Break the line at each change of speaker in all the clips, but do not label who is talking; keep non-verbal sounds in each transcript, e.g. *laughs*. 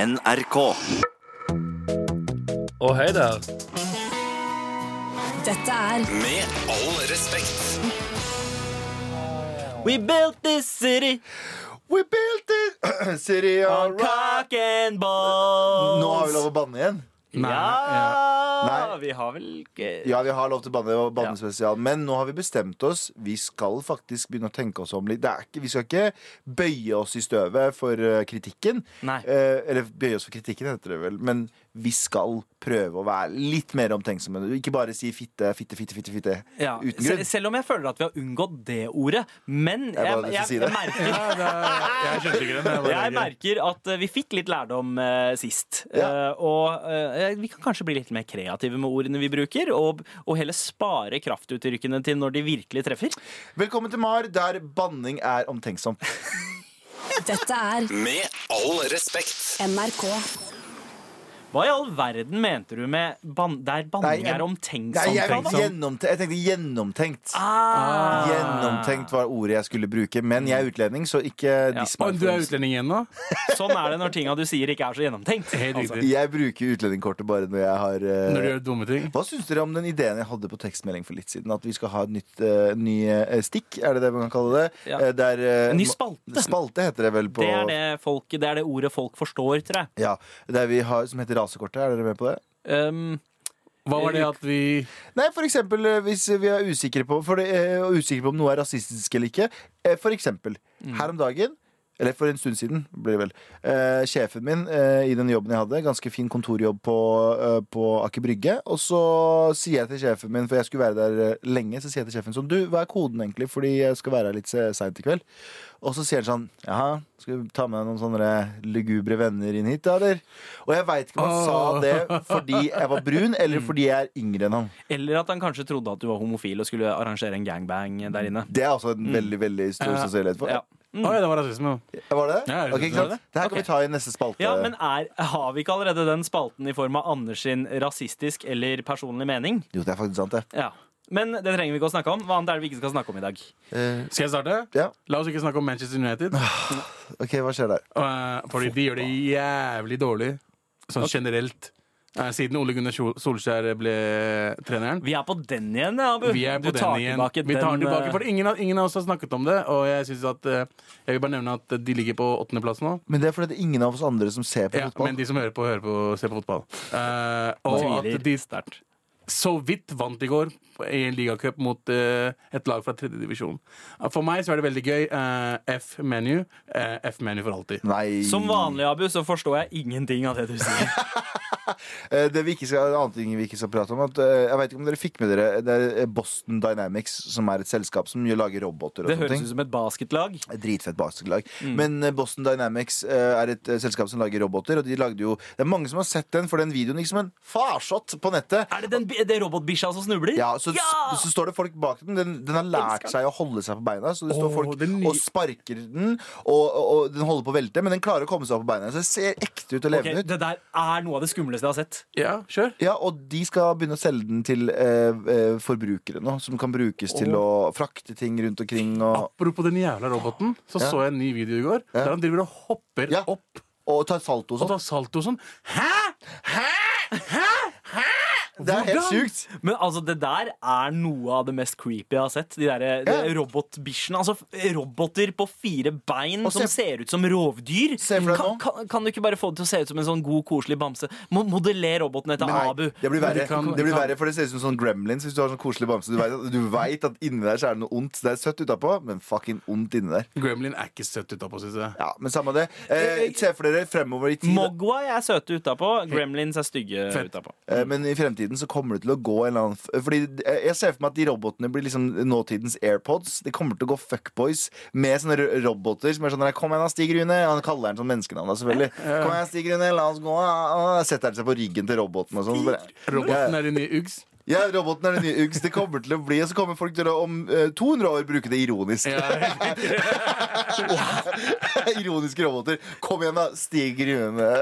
NRK.
Og hei der.
Dette er
Med all respekt.
We built this city
We built *clears throat* it City
on
of rock
cock and balls.
Nå har vi lov å banne igjen
Nei, ja,
Nei.
vi har vel ikke
Ja, vi har lov til å banne og banne
Ja.
spesial Men nå har vi bestemt oss Vi skal faktisk begynne å tenke oss om litt Det er ikke, Vi skal ikke bøye oss i støvet for eh, kritikken
Nei.
eh, Eller bøye oss for kritikken heter det vel Men vi skal prøve å være litt mer omtenksomme Ikke bare si fitte, fitte, fitte, fitte, fitte
Ja,
Uten
se-
grunn
Selv om jeg føler at vi har unngått det ordet. Men jeg,
bare
jeg,
hadde lyst til
jeg,
å si det. *laughs*
merker
Ja, det er, jeg skjønte ikke den. Jeg bare
Jeg
reagerer.
merker at eh, vi fikk litt lærdom eh, sist.
Ja.
Eh, og eh, vi kan kanskje bli litt mer kreative med ordene vi bruker, og, og heller spare kraftuttrykkene til når de virkelig treffer.
Velkommen til Mar, der banning er omtenksom
Dette er
Med all respekt.
NRK.
Hva i all verden mente du med ban der
Nei,
banning
jeg-
er
Nei,
omtenksom?
jeg,
tenksom?
gjennomte- jeg tenkte gjennomtenkt
Ah.
Gjennomtenkt var ordet jeg skulle bruke, men jeg er utlending, så ikke diss
Å,
meg.
du er
for det.
utlending igjen nå?
Sånn er det når tinga du sier ikke er så gjennomtenkt.
Helt
Altså,
riktig.
Jeg bruker utlendingkortet bare når jeg har eh,
Når du gjør dumme ting.
Hva syns dere om den ideen jeg hadde på tekstmelding for litt siden? At vi skal ha et nytt eh, ny eh, stikk, er det det man kan kalle det?
Ja.
Eh, der, eh,
Ny
ma-
spalte.
Spalte heter det vel på
det, er det, folk, det er det ordet folk forstår, tror jeg.
Ja, der vi har, Som heter rasekortet. Er dere med på det?
Um,
Hva var det at vi
Nei, for eksempel eh, hvis vi er usikre på, for det, eh, usikre på om noe er rasistisk eller ikke. Eh, For eksempel, her om dagen, eller for en stund siden, blir det vel, eh, sjefen min eh, i den jobben jeg hadde, ganske fin kontorjobb på, eh, på Aker Brygge, og så sier jeg til sjefen min, for jeg skulle være der eh, lenge, så sier jeg til sjefen sånn, du, hva er koden egentlig, fordi jeg skal være her litt se- sent i kveld. Og så sier han sånn, jaha, skal du ta med deg noen sånne lugubre venner inn hit, da, eller? Og jeg vet ikke om han sa
Åh.
det fordi jeg var brun, eller fordi jeg er yngre enn han.
eller at han kanskje trodde at du var homofil og skulle arrangere en gangbang der inne.
Det er også en veldig veldig stor
Ja.
sannsynlighet for.
Ja.
Å ja, det var rasisme.
Var det det?
Ja, jeg
Ok,
synes
ikke sant?
det.
Det her
Ok.
kan vi ta i neste spalte.
Ja, men er, Har vi ikke allerede den spalten i form av Anders sin rasistisk eller personlig mening?
Jo, det er faktisk sant, det.
Ja. Men det trenger vi ikke å snakke om. Hva annet er det vi ikke skal snakke om i dag?
Eh,
Skal jeg starte?
ja,
La oss ikke snakke om Manchester United.
ok, Hva skjer der?
Eh, fordi de gjør det jævlig dårlig sånn generelt. Eh, siden Ole Gunnar Sol- Solskjær ble treneren.
Vi er på den igjen, ja, Abu.
Vi er
du
på
tar
den igjen.
tilbake
Vi tar den tilbake,
eh,
for ingen, av- ingen av oss har snakket om det. Og jeg synes at eh, Jeg vil bare nevne at de ligger på åttendeplass nå.
Men det er fordi det er ingen av oss andre som ser på
Ja,
fotball.
men de som hører på, hører på ser på fotball. Eh, og
Tviler
at de så vidt vant i går i en ligacup mot eh, et lag fra tredjedivisjon. For meg så er det veldig gøy. Eh, F-menu. Eh, F-menu for alltid.
Nei.
Som vanlig, Abu, så forstår jeg ingenting av det du sier.
*laughs*
Eh, Det vi ikke skal, en annen ting vi ikke skal prate om at, eh, Jeg vet ikke om dere fikk med dere eh, Det er Boston Dynamics, som er et selskap som gjør- lager roboter. og
Det
sånne ting
høres ut som et basketlag.
Dritfett basketlag. Men eh, Boston Dynamics eh, er et eh, selskap som lager roboter. Og de lagde jo Det er mange som har sett den, for den videoen gikk som en farsott på nettet.
Er det den, bi- det robotbikkja som snubler?
*laughs* Ja, så, så står det folk bak den. Den, den har lært seg å holde seg på beina. Så det står
Åh,
folk
den nye-
og sparker den, og, og, og den holder på å velte, men den klarer å komme seg opp på beina. Så det ser ekte ut og
Ok,
levende ut.
det der er noe av det skumleste jeg har sett.
Ja, kjør.
Ja, og de skal begynne å selge den til eh, eh, forbrukere nå, som kan brukes til å frakte ting rundt omkring. Og,
Apropos den jævla roboten, så
Ja.
så jeg en ny video i går der han driver og hopper
Ja.
opp
og ta salto og
og
sånn.
tar salto og sånn. Hæ?!
Det er helt
hvordan?
sjukt.
Men altså, det der er noe av det mest creepy jeg har sett. De der de
Ja.
robotbikkjene. Altså f- roboter på fire bein
Og se-
som ser ut som rovdyr.
Se for deg
kan,
nå.
kan, kan du ikke bare få det til å se ut som en sånn god, koselig bamse? Mo modeller roboten etter
Nei,
Abu.
det blir verre,
de kan-
det blir
de kan-
verre for det ser ut som sånn gremlins hvis du har sånn koselig bamse. Du vet, du vet at inni der så er det noe ondt. Det er søtt utapå, men fucking ondt inni der.
Gremlin er ikke søtt utapå, syns jeg.
Ja, men samme det. Eh, se for dere fremover i tid.
Mogwai er søte utapå. Gremlins er stygge
Fett.
utapå.
Eh, Men i fremtiden så kommer det til å gå en eller annen f- Fordi eh, jeg ser for meg at de robotene blir liksom nåtidens AirPods. De kommer til å gå fuckboys med sånne ro- roboter som er sånn Kom igjen, da, Stig Rune. Han kaller den sånn menneskenavn, da, selvfølgelig. Kom igjen, Stig Rune, la oss gå. Og setter han seg på ryggen til roboten og sånn. så bare-
Roboten er en ny Uggs.
Ja, roboten er den nye Uggs. Det kommer til å bli, og så kommer folk til å om eh, 200 år bruke det ironisk.
*laughs*
*laughs* Ironiske roboter. Kom igjen, da. Stig Rune. *laughs*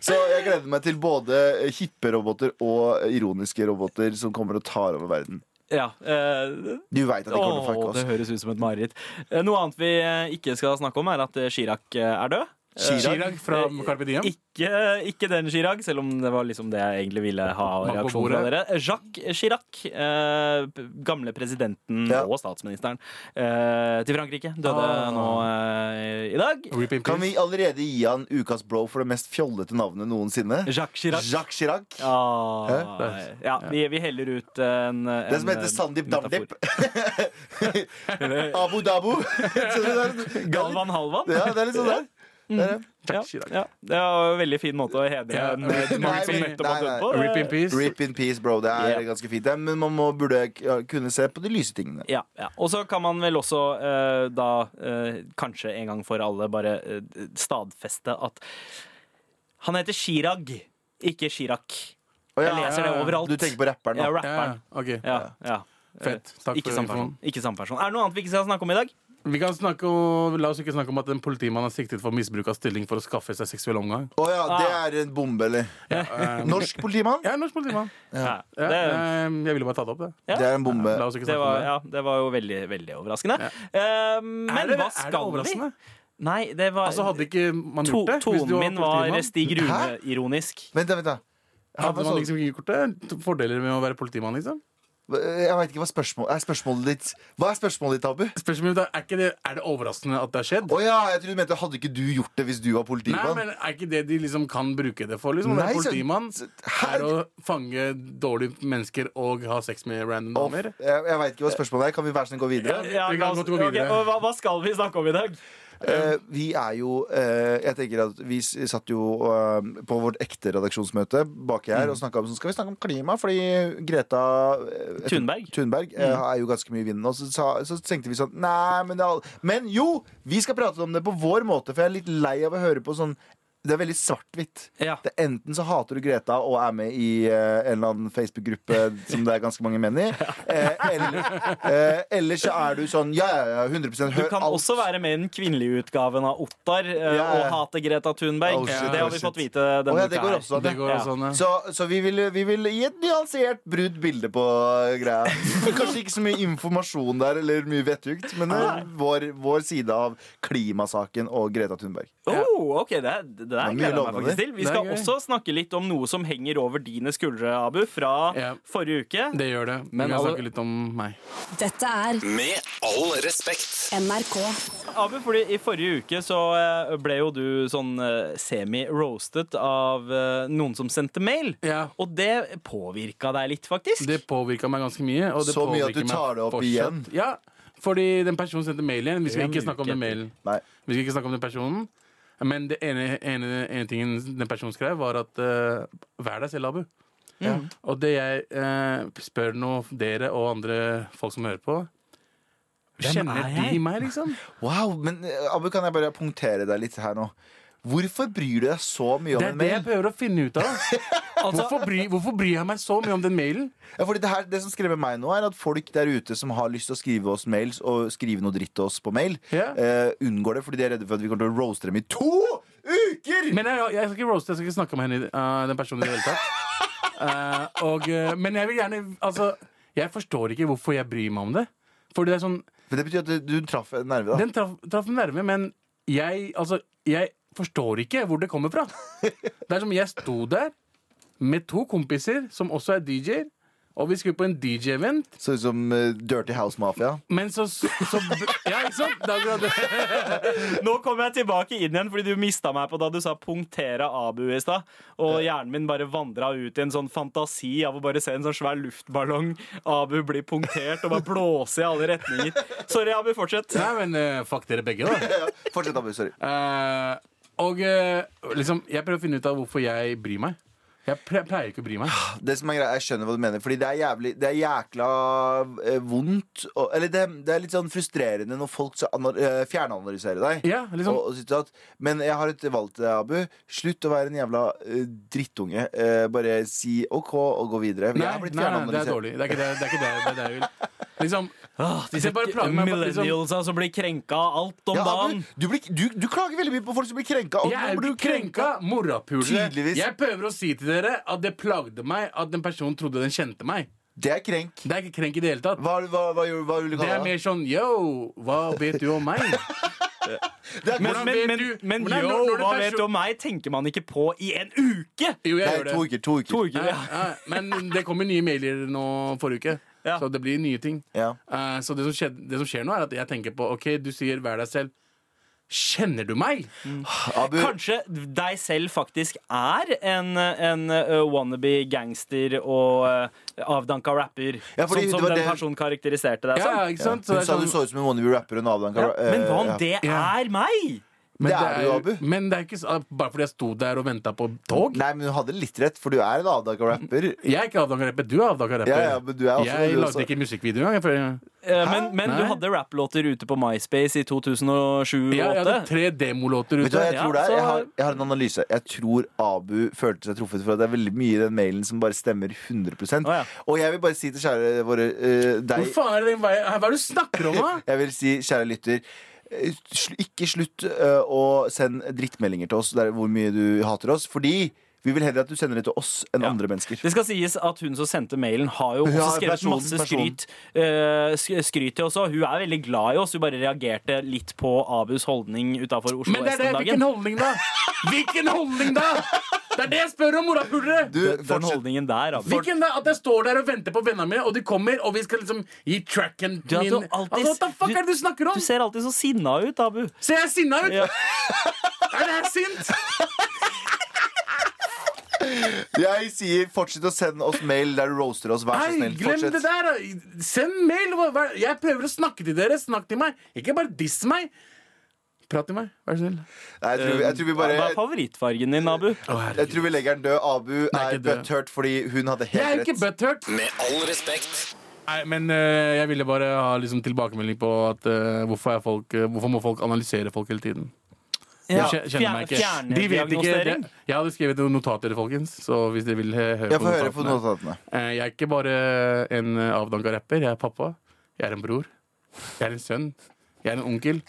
så jeg gleder meg til både hippe roboter og ironiske roboter som kommer og tar over verden.
Ja, eh,
Du veit at de kommer
Åh,
til å fucke
det
oss.
høres ut som et mareritt. Eh, Noe annet vi eh, ikke skal snakke om, er at eh, Chirac eh, er død.
Chirag fra Carpe Diem.
Ikke, ikke den Chirag, selv om det var liksom det jeg egentlig ville ha
Bank på
reaksjon fra
bordet.
dere. Jacques Chirac, eh, p- gamle presidenten
Ja.
og statsministeren eh, til Frankrike, døde
Ah.
nå eh, i dag.
Rip in
Kan
peace.
vi allerede gi han ukas bro for det mest fjollete navnet noensinne?
Jacques Chirac.
Jacques Chirac.
Ah,
Hæ?
ja, vi, vi heller ut en, en
Det som heter Sandeep
metafor.
Damdip. Abu Dabu. *laughs* Så det er-
*laughs* Galvan Halvan.
Ja, det er litt sånn der. Det er det.
Ja,
Jacques Chirac.
ja. Det var en veldig fin måte å hedre
Ja,
en
nei,
eh,
nei,
nordmann som
nei,
nettopp har
nei,
dødd på.
Rip in peace.
Rip in peace, bro. Det er
Yeah.
ganske fint. det. Men man må, burde ja, kunne se på de lyse tingene.
Ja, ja. Og så kan man vel også eh, da eh, kanskje en gang for alle bare eh, stadfeste at han heter Chirag, ikke Chirac.
Å, ja.
Jeg leser det overalt.
Du tenker på rapperen,
Ja,
da.
Ja, ja,
rapperen.
ok.
Ja, ja.
Fett. Takk
Ikke
for
samme person.
informasjonen.
Ikke samme person. Er det noe annet vi ikke skal snakke om i dag?
Vi kan snakke om, La oss ikke snakke om at en politimann er siktet for misbruk av stilling for å skaffe seg seksuell omgang.
Å ja, det
Ah.
er en bombe, eller?
Eh,
Norsk politimann?
Jeg er norsk politimann.
Ja.
Ja,
Det,
eh, jeg ville bare ta det opp, det.
Ja.
Det er en bombe.
La oss ikke
det,
snakke
var,
om det.
ja, det var jo veldig, veldig overraskende. Eh, men
det-
hva
er det
skal vi?
overraskende?
Nei, det var
Altså, hadde ikke man
to,
gjort det? hvis
Tonen
du var
min var
politimann?
Stig
Hæ?
Rune-ironisk.
Vent, da, vent, da. Ja,
Hadde
men
man
sånn-
liksom ikke gjort det? Fordeler med å være politimann, liksom?
Jeg veit ikke hva spørsmålet er. Spørsmålet ditt Hva er spørsmålet ditt, Abu?
Spørsmålet mitt er, er, ikke det, er det overraskende at det har skjedd?
Å ja, jeg trodde du mente hadde ikke du gjort det hvis du var
Nei,
politimann?
men Er ikke det de liksom kan bruke det for? liksom Å
Nei,
være
så-
Politimann
så-
er å fange dårlige mennesker og ha sex med random
Å,
damer.
Jeg, jeg veit ikke hva spørsmålet er. Kan vi hver sin gå videre?
Ja,
Vi
la
kan
oss-
godt gå
ok,
videre.
og hva, hva skal vi snakke om i dag?
Eh, vi er jo eh, Jeg tenker at Vi s- satt jo eh, på vårt ekte redaksjonsmøte baki
Mm.
her og snakka om sånn, Skal vi snakke om klima, fordi Greta eh,
Thunberg.
Thunberg eh,
Mm.
er jo ganske mye i vinden. Og så, sa, så tenkte vi sånn Nei, men det er all... Men jo! Vi skal prate om det på vår måte, for jeg er litt lei av å høre på sånn det er veldig svart-hvitt.
Ja.
Det er Enten så hater du Greta og er med i eh, en eller annen Facebook-gruppe som det er ganske mange
*laughs*
menn i, eh, eller, eh, eller så er du sånn ja, ja, ja, 100
Du
hør
kan
alt.
også være med i den kvinnelige utgaven av Ottar eh,
Ja.
og hate Greta Thunberg.
Oh, shit,
det har
oh,
vi
shit.
fått vite denne
Å, ja, det
uka
går
her.
også,
Det går
Ja.
sånn, ja.
Så, så vi, vil, vi vil gi et nyansert brudd bilde på greia. Kanskje ikke så mye informasjon der, eller mye vettugt, men eh, vår, vår side av klimasaken og Greta Thunberg.
Oh, ok, det, det der gleder
mye
jeg meg
lovende.
faktisk til. Vi
Det er
skal
gøy.
også snakke litt om noe som henger over dine skuldre, Abu, fra
Ja.
forrige uke.
Det gjør
Men
det. Men jeg
alle-
snakker litt om meg.
Dette er
Med all respekt.
NRK.
Abu, fordi i forrige uke så eh, ble jo du sånn eh, semi-roastet av eh, noen som sendte mail.
Ja,
Og det påvirka deg litt, faktisk.
Det påvirka meg ganske mye. Og det
Så mye at du
påvirker meg
tar det opp
fortsatt. Ja, fordi den personen sendte mail igjen. Vi skal
En
ikke snakke om
uke
den
etter.
mailen.
Nei.
Vi skal ikke snakke om den personen. Men det ene, ene, ene tingen den personen skrev, var at eh, vær deg selv, Abu. Og det jeg eh, spør nå dere og andre folk som hører på
Hvem
Kjenner
er
de
jeg?
meg, liksom?
Wow, men eh, Abu, kan jeg bare punktere deg litt her nå? Hvorfor bryr du deg så mye om
Det er
en
det jeg
mail?
prøver å finne
*laughs*
ut av. hvorfor, bry, hvorfor bryr jeg meg så mye om den mailen?
Ja, fordi det, her, det som skremmer meg nå, er at folk der ute som har lyst til å skrive oss mails, og skrive noe dritt til oss på mail,
Ja.
eh, unngår det fordi de er redde for at vi kommer til å roaste dem i to uker!
Men jeg, jeg skal ikke roaste, jeg skal ikke snakke om henne, eh, den personen i det hele tatt. Eh, og, eh, men jeg vil gjerne Altså, jeg forstår ikke hvorfor jeg bryr meg om det. For det er sånn
Men det betyr at du, du traff en nerve, da.
Den traff, traff en nerve, men jeg, altså, jeg forstår ikke hvor det kommer fra. Det er som jeg sto der med to kompiser som også er DJ-er, og vi skulle på en DJ-event.
Så ut som eh, Dirty House Mafia.
Men så, så Ja, ikke sant? Det er akkurat det.
Nå kom jeg tilbake inn igjen, fordi du mista meg på da du sa 'punktere Abu' i stad. Og hjernen min bare vandra ut i en sånn fantasi av å bare se en sånn svær luftballong. Abu blir punktert og bare blåse i alle retninger. Sorry, Abu, fortsett.
Nei, men eh, fuck dere begge, da.
Fortsett, Abu. Sorry.
Eh, og eh, liksom, jeg prøver å finne ut av hvorfor jeg bryr meg. Jeg pre- pleier ikke å bry meg.
Det som er greia, Jeg skjønner hva du mener. Fordi det er, jævlig, det er jækla eh, vondt og, Eller det, det er litt sånn frustrerende når folk så ana- eh, fjernanalyserer deg.
Ja, liksom.
Og, og sitter at, men jeg har et valg til deg, Abu. Slutt å være en jævla eh, drittunge. Eh, bare si OK og gå videre. Jeg
Nei,
har blitt
nei, nei, det er
fjernanalysert.
dårlig. Det er ikke det, det, er ikke det, det, er det jeg vil.
*laughs*
Liksom,
Ah,
Åh, disse
Det bare plager meg, bare liksom-
millennialsa som altså, blir krenka av alt om
Ja, Abu,
dagen.
du, blir, du, du klager veldig mye på folk som blir krenka. og
jeg er
nå
jo
blir
ikke krenka, morapulere.
Tydeligvis.
Jeg prøver å si til dere at det plagde meg at den personen trodde den kjente meg.
Det er krenk.
Det er ikke krenk i det sånn, hele tatt.
Hva, hva, hva, gjorde- hva vil du
Det
kalle
er
det? *laughs*
mer sånn yo, hva vet du om meg?
Men,
Hvordan
men,
vet
men,
du-
men
Hvordan-
yo,
når- når det
hva
perso-
vet du om meg? Tenker man ikke på i en uke!
Jo, jeg
Nei,
gjør det.
to uker. To uker.
To uker, ja.
Ja, ja, men det kommer nye mailer nå forrige uke,
Ja.
så det blir nye ting.
Ja.
Eh, så det som, skjedde, det som skjer nå, er at jeg tenker på OK, du sier 'vær deg selv'. Kjenner du meg?
Abu,
Kanskje deg selv faktisk er en, en uh, wannabe gangster og uh, avdanka rapper.
Ja, fordi
sånn
det
som
var
den
det-
personen karakteriserte deg
Ja,
som.
ja, Altså, ikke sant? Så
hun
det er
sa du
sånn-
så ut som en wannabe-rapper.
Ja, men hva om det
Ja.
er meg?
men
det er du, Abu.
Men det er ikke så- bare fordi jeg sto der og venta på tog.
Nei, men hun hadde litt rett, for du er en avdanka rapper.
Mm.
Jeg er ikke avdanka rapper. Du er avdanka rapper.
Ja, ja, altså. men du er også
jeg
du
lagde
også.
ikke musikkvideo engang. jeg føler-
Eh, Men, men du
Nei.
hadde rapplåter ute på MySpace i 2007-2008.
Jeg, jeg hadde tre demolåter
Vet du hva jeg
ute.
Ja,
tror det er? Jeg
så-
har, jeg har en analyse. Jeg tror Abu følte seg truffet, for det er veldig mye i den mailen som bare stemmer 100
Å, ja.
Og jeg vil bare si til kjære våre eh,
Hvor
deg
faen er det den veien? Hva er det du snakker om,
*laughs*
da?
Jeg vil si, kjære lytter eh, sl- ikke slutt eh, å sende drittmeldinger til oss der hvor mye du hater oss. Fordi vi vil heller at du sender det til oss enn
Ja.
andre mennesker.
Det skal sies at hun som sendte mailen, har jo også
Ja,
skrevet
personen-
masse
personen.
skryt, eh, sk- skryt til oss. og Hun er veldig glad i oss. Hun bare reagerte litt på Abus holdning utafor Oslo
Men
S
det er
den
det, hvilken
dagen.
holdning, da? Hvilken holdning, da? Det er det jeg spør om, morapulere!
Du,
Den
fortsett.
holdningen der, Abu.
Hvilken da? At jeg står der og venter på vennene mine, og de kommer, og vi skal liksom gi tracken
Du,
min
du har alltid-
altså, What the fuck
du-
er det du snakker om?
Du ser alltid så sinna ut, Abu.
Ser jeg sinna ut?
Ja.
*laughs* Er det her sint?
Jeg sier fortsett å sende oss mail der du roaster oss. Vær så
Nei,
snill.
glem det
Fortsett.
der. da. Send mail. Hva- hva- Jeg prøver å snakke til dere. Snakk til meg. Ikke bare diss meg. Prat til meg, vær så snill.
Nei, jeg, tror, jeg tror vi bare
Eh, Hva er favorittfargen din, Abu?
Jeg tror vi legger den død. Abu er
ikke død.
butthurt fordi hun hadde
Jeg er
helt
ikke
rett.
butthurt.
Med all respekt.
Nei, men eh, jeg ville bare ha liksom, tilbakemelding på at eh, hvorfor, er folk, eh, hvorfor må folk analysere folk hele tiden?
Ja,
Jeg kje- kjenner meg ikke.
fjer-
De vet ikke
fjerndiagnostisering.
det- Jeg hadde skrevet noen notater, folkens. Så hvis dere vil eh, høre
Jeg
på
får høre på
notatene
notatene.
Eh, Jeg er ikke bare en eh, avdanka rapper. Jeg er pappa. Jeg er en bror. Jeg er en sønn. Jeg er en onkel.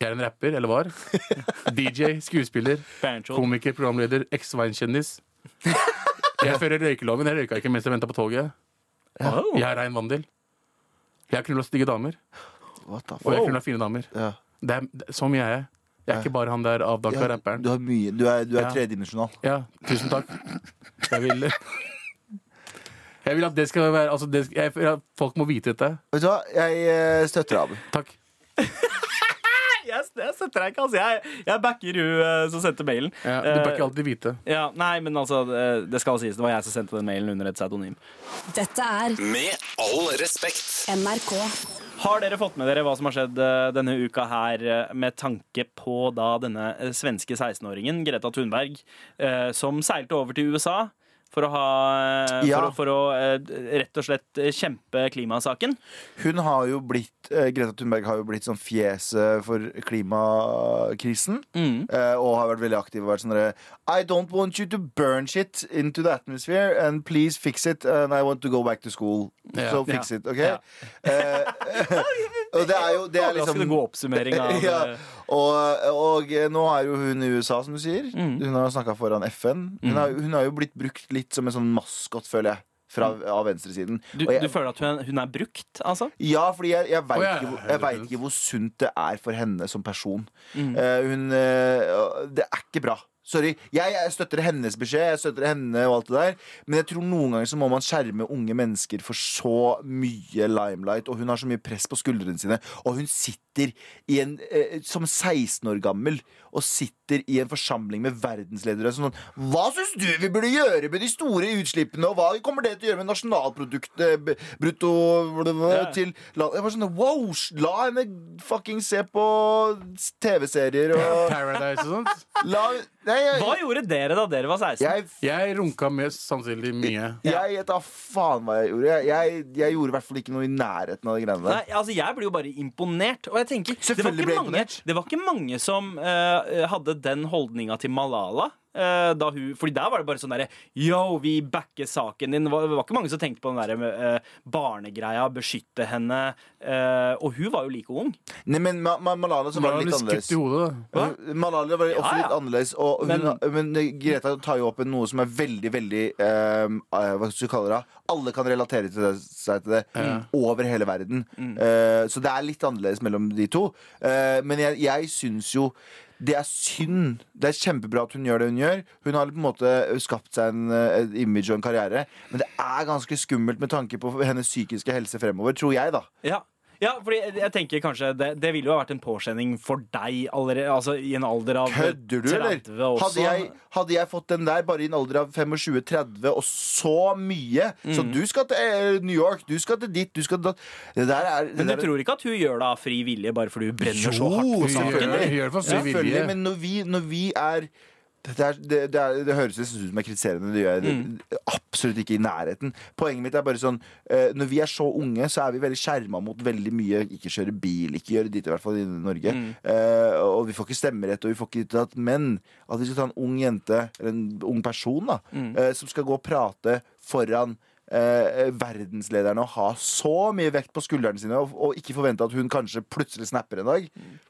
Jeg er en rapper,
*laughs*
eller var. DJ, skuespiller,
Banjo.
komiker, programleder, eks-vinkjendis. Jeg fører røykeloven. Jeg røyka ikke mens jeg venta på toget.
Oh.
Jeg er rein vandel. Jeg har knulla stygge damer,
What the
og jeg
fuck?
har knulla fine damer.
Ja.
Det er, det, som jeg er. Jeg er ikke bare han der avdanka
Ja,
rapperen.
du har mye Du er, du er
Ja.
tredimensjonal.
Ja, tusen takk. Jeg vil Jeg vil at det skal være altså det, jeg, føler at Folk må vite dette.
Vet du hva? Jeg eh, støtter Abu.
Takk.
*laughs* Jeg, jeg setter deg ikke, altså. Jeg, jeg backer hun eh, som sendte mailen.
Ja, du bør
Eh,
ikke alltid vite.
ja, nei, men altså, eh, det skal sies. Det var jeg som sendte den mailen under et pseudonym.
Dette er
Med all respekt.
NRK.
Har dere fått med dere hva som har skjedd eh, denne uka her eh, med tanke på da denne eh, svenske 16-åringen, Greta Thunberg, eh, som seilte over til USA for å ha eh,
Ja.
For, å- for å eh, rett og slett eh, kjempe klimasaken?
Hun har jo blitt eh, Greta Thunberg har jo blitt sånn fjeset for klimakrisen. eh, og har vært veldig aktiv og vært sånn derre I don't want you to burn shit into the atmosphere, and please fix it, and I want to go back to school.
Ja.
So fix
Ja.
it, OK? Eh, *laughs* og det er jo det er liksom
Overraskende god oppsummering av
*laughs* ja.
eh,
og, og nå er jo hun i USA, som du sier. Hun har snakka foran FN. Hun, har, hun har jo blitt brukt litt som en sånn maskot, føler jeg, fra, av venstresiden.
du,
Og jeg-
du føler at hun er, hun er brukt, altså?
ja, fordi jeg, jeg veit
Å, ja,
ikke, hvor-
ja,
jeg
ja,
vet
ja.
ikke hvor sunt det er for henne som person. Eh, hun eh, Det er ikke bra. Sorry. Jeg, jeg støtter hennes beskjed, jeg støtter henne og alt det der. Men jeg tror noen ganger så må man skjerme unge mennesker for så mye limelight. Og hun har så mye press på skuldrene sine. Og hun sitter i en, eh, som 16 år gammel og sitter i en forsamling med verdensledere som sånn Hva syns du vi burde gjøre med de store utslippene, og hva kommer det til å gjøre med nasjonalproduktet, eh, b- brutto
Ja.
til la, Jeg var sånn Wow! s- La henne fucking se på s-
*laughs*
TV-serier og
Paradise og sånt.
La Nei,
Hva
jeg
gjorde dere da dere var 16?
Jeg,
Jeg runka med sannsynlig mye.
jeg vet da faen hva jeg gjorde. Jeg, jeg, jeg gjorde i hvert fall ikke noe i nærheten av de greiene der.
Nei, altså Jeg blir jo bare imponert. Og jeg tenker, det var
Selvfølgelig
ikke
ble jeg
mange,
imponert.
det var ikke mange som eh, hadde den holdninga til Malala. eh, eh, da hun, fordi der var det bare sånn derre Yo, vi backer saken din. Det var, det var ikke mange som tenkte på den derre med, eh, barnegreia, beskytte henne. eh, og hun var jo like ung.
Nei, men Ma Ma Malala så
Hun
var
har
det
blitt
litt annerledes.
skutt i hodet. da.
Hva?
Eh, Malala var også
Ja, ja.
litt annerledes. Og hun, men, eh, Greta tar jo opp noe som er veldig, veldig ehm, eh, Hva skal du kalle det? da? Alle kan relatere til det, seg til det. Over hele verden.
Mm.
Eh, så det er litt annerledes mellom de to. Eh, men jeg, jeg syns jo det er synd. Det er kjempebra at hun gjør det hun gjør. Hun har på en måte skapt seg en, eh, et image og en karriere. Men det er ganske skummelt med tanke på hennes psykiske helse fremover, tror jeg, da.
Ja. Ja, fordi jeg- jeg tenker kanskje Det, det ville jo ha vært en påkjenning for deg allerede, altså i en alder av
Kødder du,
30
eller?
også.
Hadde jeg, hadde jeg fått den der bare i en alder av 25-30 og så mye Så du skal til eh, New York, du skal til dit, du skal til datt Det der er det
Men du
der er-
tror ikke at hun gjør det av fri vilje, bare fordi hun brenner så
Jo,
hardt for
Hun
saken?
gjør det-
eller?
hun gjør det for fri
Selvfølgelig,
vilje.
men når vi, når vi er det, er, det, det, er, det høres nesten ut som jeg kritiserer henne. Det gjør jeg det- absolutt ikke i nærheten. Poenget mitt er bare sånn eh, Når vi er så unge, så er vi veldig skjerma mot veldig mye. Ikke kjøre bil, ikke gjøre ditt, i hvert fall i Norge. Eh, og vi får ikke stemmerett, og vi får ikke ditt og datt. Men at vi skal ta en ung jente, eller en ung person, da, eh, som skal gå og prate foran eh, verdenslederne og ha så mye vekt på skuldrene sine, og, og ikke forvente at hun kanskje plutselig snapper en dag.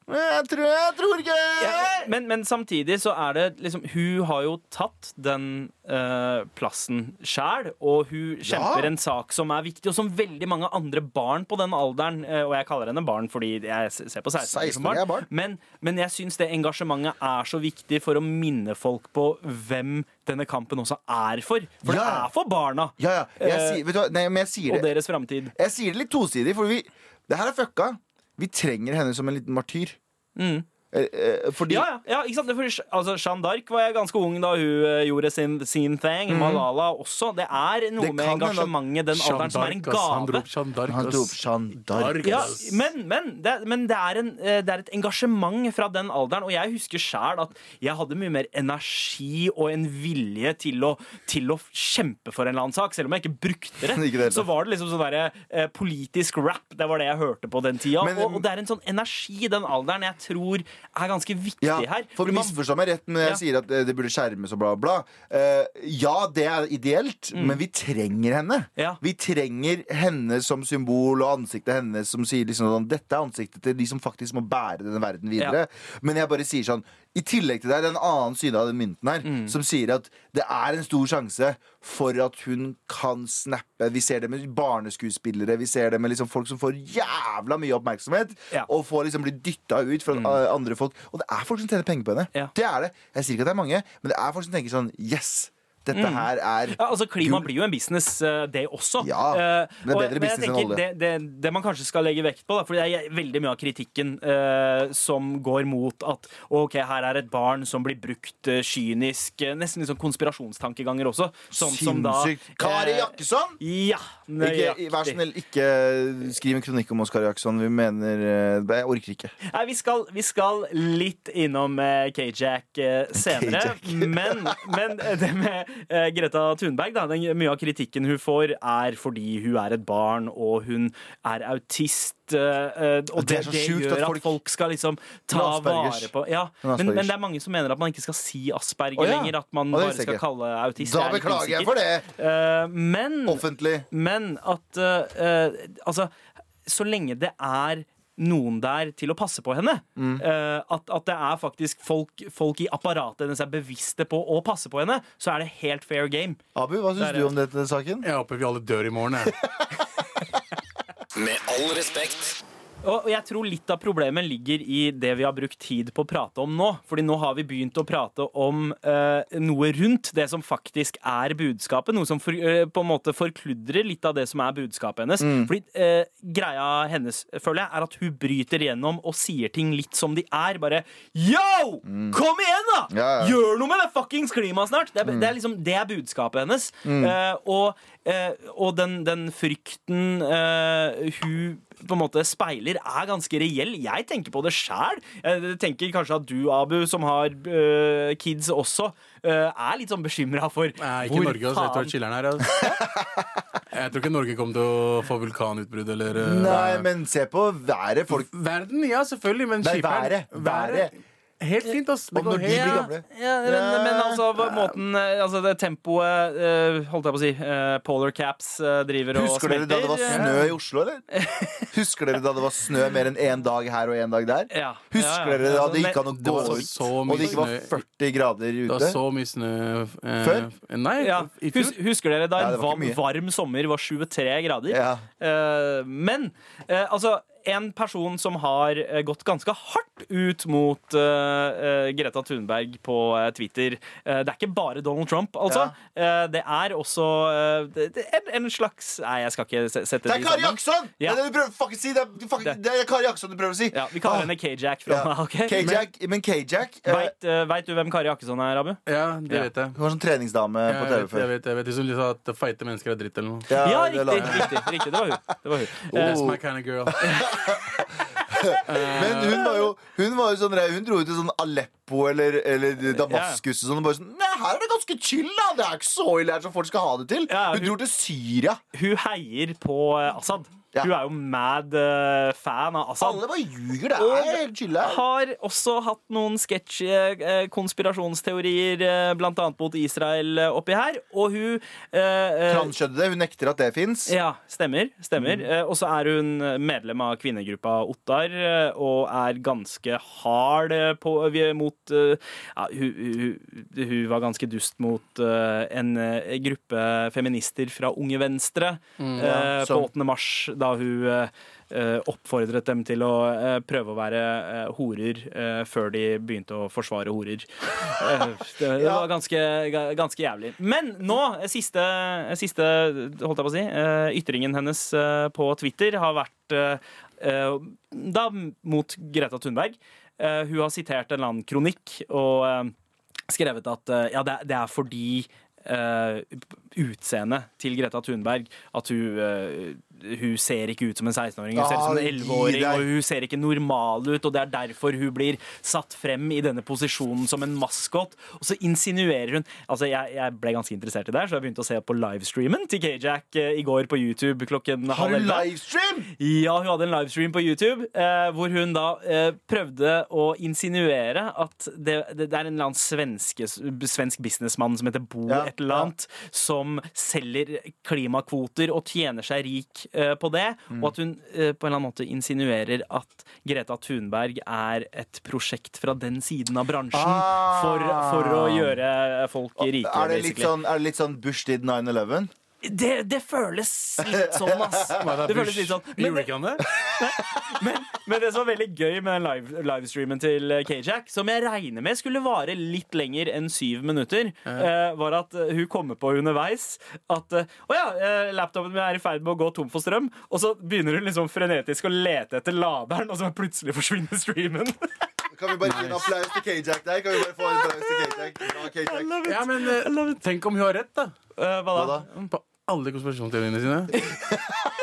Jeg tror, jeg tror ikke Eh,
Ja, men, men samtidig så er det liksom Hun har jo tatt den eh, plassen sjæl, og hun kjemper en sak som er viktig, og som veldig mange andre barn på den alderen eh, Og jeg kaller henne barn fordi jeg s- ser på 16 som
16
barn.
er barn.
Men, men jeg syns det engasjementet er så viktig for å minne folk på hvem denne kampen også er for. For det
Ja.
er for barna
Ja, ja. Jeg,
Eh,
sier, vet du hva? Nei, men jeg
og
sier det.
deres framtid.
Jeg sier det litt tosidig, for vi, det her er fucka. Vi trenger henne som en liten martyr. Eh, eh, fordi
Mm. Ja, ja, ja, ikke sant? Det er fordi- altså, Jeanne d'Arc var jeg ganske ung da hun eh, gjorde sin, sin thing. Malala også. Det er noe
Mhm. Det
med
kan hende at
engasjementet den alderen som er en
Jeanne d'Arc, ass. Han dro
gave.
opp Jeanne d'Arc.
han dro opp
ass.
Jeanne d'Arc.
Dark,
Ja,
ass.
men men, det, er- men det, er en, eh, det er et engasjement fra den alderen. Og jeg husker sjæl at jeg hadde mye mer energi og en vilje til å, til å kjempe for en eller annen sak. Selv om jeg ikke brukte det,
*laughs* Ikke det hele
så
tatt.
var det liksom sånn derre eh, politisk rap. Det var det jeg hørte på den tida.
Men-
og, og det er en sånn energi i den alderen jeg tror er ganske viktig
Ja,
her.
for
Fordi man-
misforstå meg rett, men jeg
Ja.
sier at eh, det burde skjermes og bla, bla. Eh, ja, det er ideelt, men vi trenger henne.
Mm. Ja.
Vi trenger henne som symbol og ansiktet hennes som sier liksom sånn Dette er ansiktet til de som faktisk må bære denne verden videre. Men jeg bare sier sånn I tillegg til det er det en annen side av den mynten her
Mm.
som sier at det er en stor sjanse for at hun kan snappe. Vi ser det med barneskuespillere, vi ser det med liksom folk som får jævla mye oppmerksomhet.
Ja.
Og får liksom bli dytta ut fra eh, andre folk. Og det er folk som tjener penger på henne.
Mm. Ja.
Det er det. Jeg sier ikke at det er mange, men det er folk som tenker sånn Yes! Dette her er
Mm. Ja, altså Klima
Gul-
blir jo en business, eh, det også.
Ja,
Eh,
men det er
og- men jeg
bedre business enn
tenker
olje.
Det, det, det man kanskje skal legge vekt på, da, for det er veldig mye av kritikken eh, som går mot at ok, her er et barn som blir brukt eh, kynisk, eh, nesten litt sånn konspirasjonstankeganger også. Sånn som da
sinnssykt. Kari
eh,
Jakkesson!
Ja,
Ikke, vær så
nøyaktig.
snill, ikke skriv en kronikk om Oskar Jackson. Vi mener eh, Jeg orker ikke.
Nei, vi skal, vi skal litt innom eh, K-Jack eh, senere. men, men det med eh, Greta Thunberg, da, den, mye av kritikken hun får, er fordi hun er et barn, og hun er autist. eh, eh, og
Det
det,
er så
det
sjukt
gjør
at
at
folk-
folk, skal liksom ta
Hun har Aspergers.
vare på ja,
Hun
men, men
har Aspergers.
det er mange som mener at man ikke skal si asperger
Å, ja.
lenger. At man
Å, det
bare
visste jeg
skal
ikke.
kalle autist.
Da
Jeg er litt
beklager jeg
usikker.
for det!
Eh, men
Offentlig.
men at eh, eh, Altså, så lenge det er noen der til å passe på henne. eh, at, at det er faktisk folk, folk i apparatet hennes er bevisste på å passe på henne, så er det helt fair game.
Abu, hva syns
Der er
du om dette saken?
Jeg håper vi alle dør i morgen. Jeg.
Med all respekt.
Og og jeg tror litt av problemet ligger i det vi har brukt tid på å prate om nå. Fordi nå har vi begynt å prate om eh, noe rundt det som faktisk er budskapet. Noe som for, eh, på en måte forkludrer litt av det som er budskapet hennes.
Mm.
Fordi eh, greia hennes, føler jeg, er at hun bryter gjennom og sier ting litt som de er. Bare yo! Kom igjen, da!
Mm. Ja, ja.
Gjør noe med det fuckings klimaet snart! Det er, det er liksom, det er budskapet hennes. Eh, og eh, og den, den frykten eh, hun på en måte speiler, er ganske reell. Jeg tenker på det sjæl. Jeg tenker kanskje at du, Abu, som har eh, kids også, eh, er litt sånn bekymra for
Nei, ikke Norge, altså. Jeg tror chiller'n her. Altså. Jeg tror ikke Norge kommer til å få vulkanutbrudd eller eh,
Nei, men se på været, folk.
Verden, ja, selvfølgelig, men
Nei,
skiperen
været. været.
helt fint, ass. Det
Og når
går
de
helt
blir gamle.
Ja, men, men altså, hva- måten eh, altså, det Tempoet, eh, holdt jeg på å si, eh, polar caps eh, driver og
Husker dere da det var
eh,
snø i
*laughs*
Oslo, eller? Husker dere da det var snø mer enn én dag her og én dag der?
Ja.
Husker
Ja, ja.
dere da
Altså,
det gikk an
men-
å
Det
gå
var
ut,
så
og
mye
det ikke var
snø.
40 grader
Det var
ute?
så mye snø eh,
Før?
Nei,
ja.
*laughs*
i fjor.
Hus, husker dere da
Ja,
en
det var ikke
varm,
mye.
varm sommer var 23 grader?
Ja.
Eh, men eh, altså en person som har eh, gått ganske hardt ut mot eh, eh, Greta Thunberg på eh, Twitter. Eh, det er ikke bare Donald Trump, altså. Eh, det er også eh, det, det, en, en slags Nei, jeg skal ikke se- sette
Det er Kari Jaksson!
sånn. Ja.
Det er det du prøver å fucking si! Det er, du fucking,
Det-
det er Kari Jaksson du prøver å si!
Ja, Vi kaller henne K-Jack fra
Ah.
*laughs*
Ja.
ok? Men-
K-Jack, men K-Jack eh,
Veit eh, vet du hvem Kari Jakkesson er, Abu?
Ja, det
Ja.
vet jeg.
Hun var sånn treningsdame
Jeg
på
vet,
TV
jeg
før.
vet, jeg vet. De som sa at feite mennesker er dritt eller noe.
Ja,
det Oh. la
riktig,
hun.
riktig, riktig. Det var hun. Det
*laughs*
var hun. Eh,
That's my kind of *laughs* girl.
Men hun var jo, hun var jo sånn der- Hun dro ut til sånn Aleppo eller, eller Damaskus og sånn. Og bare sånn Nei, her er det ganske chill, da! Det er ikke så ille her som folk skal ha det til.
Ja,
Hun
hun-
dro til Syria.
hun heier på eh, Assad.
Ja.
Hun er jo mad eh, fan av Assad.
Alle bare ljuger. Det
Og-
er helt chill her.
har også hatt noen sketsj eh, konspirasjonsteorier, eh, blant annet mot Israel eh, oppi her. Og hun eh, eh,
Transkjønnede. Hun nekter at det fins.
ja, stemmer. stemmer.
Mm.
Eh, Og så er hun medlem av kvinnegruppa Ottar eh, og er ganske hard eh, på, vi- mot eh, ja, hun, hun, hun var ganske dust mot eh, en eh, gruppe feminister fra Unge Venstre eh, på
som-
8. mars, da hun eh, eh, oppfordret dem til å eh, prøve å være eh, horer eh, før de begynte å forsvare horer. Eh, det, det var ganske, ga- ganske jævlig. Men nå, eh, siste, eh, siste holdt jeg på å si, eh, ytringen hennes eh, på Twitter har vært eh, eh, da mot Greta Thunberg. Eh, Hun har sitert en eller annen kronikk og eh, skrevet at eh, ja, det, er- det er fordi eh, utseendet til Greta Thunberg at hun, eh, hun ser ikke ut som en 16-åring, hun ser ut som en
Ah, gi
11-åring,
deg.
og hun ser ikke normal ut, og det er derfor hun blir satt frem i denne posisjonen som en maskot. Og så insinuerer hun Altså, jeg, jeg ble ganske interessert i det, her, så jeg begynte å se på livestreamen til K-Jack eh, i går på YouTube klokken
Har
halv
hun
elleve.
livestream?
Ja, hun hadde en livestream på YouTube eh, hvor hun da eh, prøvde å insinuere at det, det, det er en eller annen svenske, svensk businessmann som heter Bo
Ja,
et eller annet, som selger klimakvoter og tjener seg rik eh, på det, og at hun eh, på en eller annen måte insinuerer at Greta Thunberg er et prosjekt fra den siden av bransjen
Ah.
for, for å gjøre folk rike,
Er det litt
basically.
sånn, er det litt sånn Bush did 9-11?
Det, det føles litt sånn,
*laughs*
ass. Det føles litt sånn. Men
Gjorde ikke han det?
men, men det som var veldig gøy med den live, livestreamen til eh, K-Jack, som jeg regner med skulle vare litt lenger enn syv minutter, eh, var at eh, hun kommer på underveis at eh, Å ja, eh, laptopen min er i ferd med å gå tom for strøm. Og så begynner hun liksom frenetisk å lete etter laderen, og så plutselig forsvinner streamen. *laughs*
Kan vi bare gi en applaus til K-Jack der? Kan vi bare få en applaus til K-Jack? Bra, K-Jack.
*laughs* Ja, men eh, tenk om hun har rett, da.
Eh, hva
Hva
da?
da?
På alle
*laughs*
konspirasjonsteoriene sine.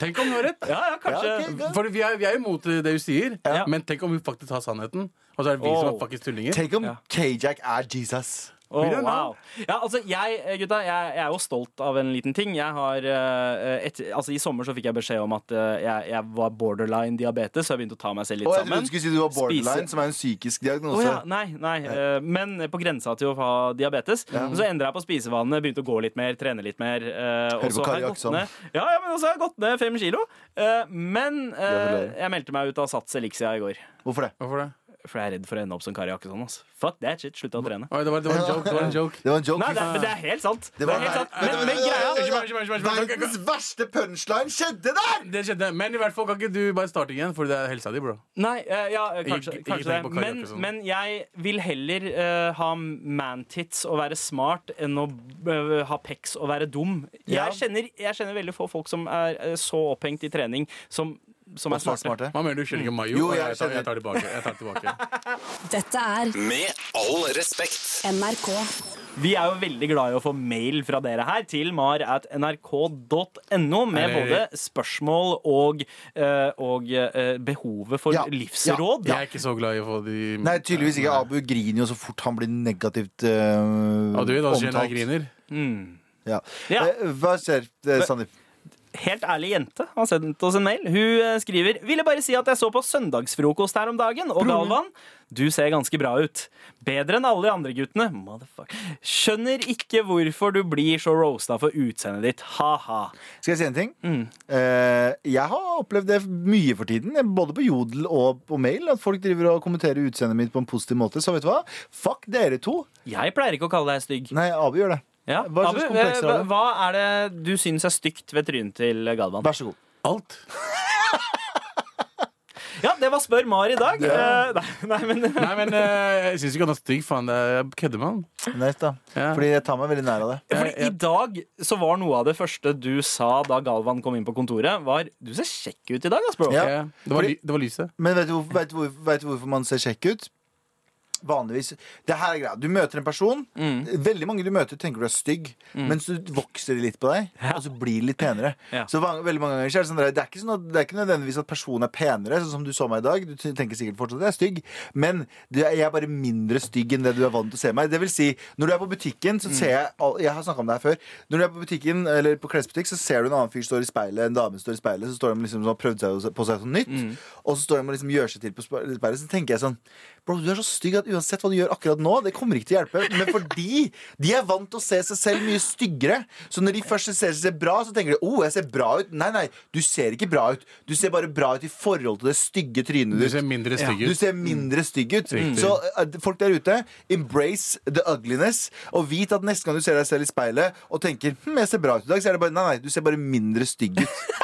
Tenk om hun har rett.
Ja, ja, kanskje.
Ja, ok, godt.
For vi er, vi er imot det hun sier,
Ja.
men tenk om hun faktisk har sannheten. Og så er det vi som
Oh.
er faktisk tullinger.
Tenk om
Ja.
K-Jack er Jesus.
Åh,
We don't
wow. Ja, altså, jeg, eh, gutta, jeg, jeg er jo stolt av en liten ting. Jeg har, eh, et, altså, I sommer så fikk jeg beskjed om at eh, jeg, jeg var borderline diabetes, så jeg begynte å ta meg selv litt
Og jeg trodde
sammen.
du skulle si du var borderline,
Spise-
som er en psykisk diagnose.
Å ja, nei, nei, eh, men på grensa til å ha diabetes. Men så endra jeg på spisevanene, begynte å gå litt mer, trene litt mer. eh, og
Hører
så
på
har
Kari
jeg gått
Jaksson.
ned, ja, ja, men også har jeg gått ned fem kilo. Eh, men eh,
Gratulerer.
jeg meldte meg ut av Sats Elixia i går.
Hvorfor det?
Hvorfor det?
For jeg er redd for å ende opp som Kari Jakkesson. ass. Fuck that shit, slutta å trene.
Oi, det, var, det var en joke. Det var
*laughs*
en joke.
Det var en joke.
Nei, det, er- men det er helt sant. Det
var-
er helt sant.
Nei,
Men,
nei,
men
nei,
greia
nei, nei, nei.
Unnskyld meg, unnskyld meg, unnskyld meg.
Verdens verste punchline skjedde der!
Det skjedde. Men i hvert fall kan ikke du bare starte igjen, for det er helsa di, bro.
Nei, eh, ja, eh, kanskje,
Ikke-
kanskje
ikke tenk
det.
på Kari
Men,
Jakkesson.
sånn.
men jeg vil heller eh, ha mantits og være smart enn å eh, ha pecs og være dum.
Ja.
Jeg, kjenner, jeg kjenner veldig få folk som er eh, så opphengt i trening, som, som er
Også
smarte.
smarte.
Hva mener du? Kylling og mayo?
Jo,
Å,
jeg
jeg, tar,
skjønner.
jeg tar tilbake. Jeg tar
*laughs*
tilbake.
Dette er
Med all respekt.
NRK.
Vi er jo veldig glad i å få mail fra dere her til mar at nrk.no med
Er
både
det-
spørsmål og, eh, og eh, behovet for
Ja.
livsråd.
Jeg er ikke så glad i å få de
Nei, tydeligvis ikke. Abu griner jo så fort han blir negativt eh,
Og altså, du vet hva som skjer når jeg
omtalt.
griner?
Ja.
Ja.
Eh, Hva skjer, eh, Sandeep?
helt ærlig jente har sendt oss en mail. Hun eh, skriver Ville bare si at jeg så på søndagsfrokost her om dagen, og Galvan, du ser ganske bra ut. Bedre enn alle de andre guttene. Motherfuck. Skjønner ikke hvorfor du blir så roasta for utseendet ditt. Ha-ha.
Skal jeg si en ting? Eh, jeg har opplevd det mye for tiden, både på Jodel og på mail. At folk driver og kommenterer utseendet mitt på en positiv måte. Så vet du hva? Fuck dere to.
Jeg pleier ikke å kalle deg stygg.
Nei, Abu gjør det.
Ja.
Hva
Abu,
slags
eh,
komplekser har
hva
du?
hva er det du syns er stygt ved trynet til Galvan?
Vær så god.
Alt.
Ja, det var Spør Mar i dag. Eh, Nei, nei, men
*laughs* Nei, men eh, jeg syns ikke han er stygg, faen. det er- Jeg kødder med han.
Nice, da.
Ja.
Fordi jeg tar meg veldig nær av det.
Ja, Fordi
Jeg- jeg-
I dag så var noe av det første du sa da Galvan kom inn på kontoret, var Du ser kjekk ut i dag, ass, bro.
Ja.
Ja, det, var
Fordi-
ly, det var lyset.
Men vet du, hvorfor- vet, du, hvorfor- vet du hvorfor man ser kjekk ut? Vanligvis Det her er greia. Du møter en person. Veldig mange du møter, tenker du er stygg. Men så vokser de litt på deg, og så blir de litt penere.
Ja.
Så van- veldig mange ganger så er det sånn der, Det er ikke sånn at, det er ikke nødvendigvis at personen er penere, sånn som du så meg i dag. Du t- tenker sikkert fortsatt at jeg er stygg, men du, er- jeg er bare mindre stygg enn det du er vant til å se meg. Det vil si, når du er på butikken, så ser jeg all- Jeg har snakka om det her før. Når du er på butikken eller på klesbutikk, så ser du en annen fyr står i speilet, en dame står i speilet, så står de liksom og har prøvd seg på seg sånn nytt. Og så står de og liksom gjør seg til på spe- speilet, så tenker jeg sånn Bro, du er så stygg at uansett hva du gjør akkurat nå, det kommer ikke til å hjelpe. Men fordi de er vant til å se seg selv mye styggere. Så når de først ser seg bra, så tenker de oh, jeg ser bra ut. Nei, nei, du ser ikke bra ut. Du ser bare bra ut i forhold til det stygge trynet
Du
ditt.
ser mindre stygg
Du
ut. Mm.
ser mindre stygg ut.
Riktig.
Så eh, folk der ute, embrace the ugliness. Og vit at neste gang du ser deg selv i speilet og tenker hm, jeg ser bra ut i dag, så er det bare nei, nei, du ser bare mindre stygg ut.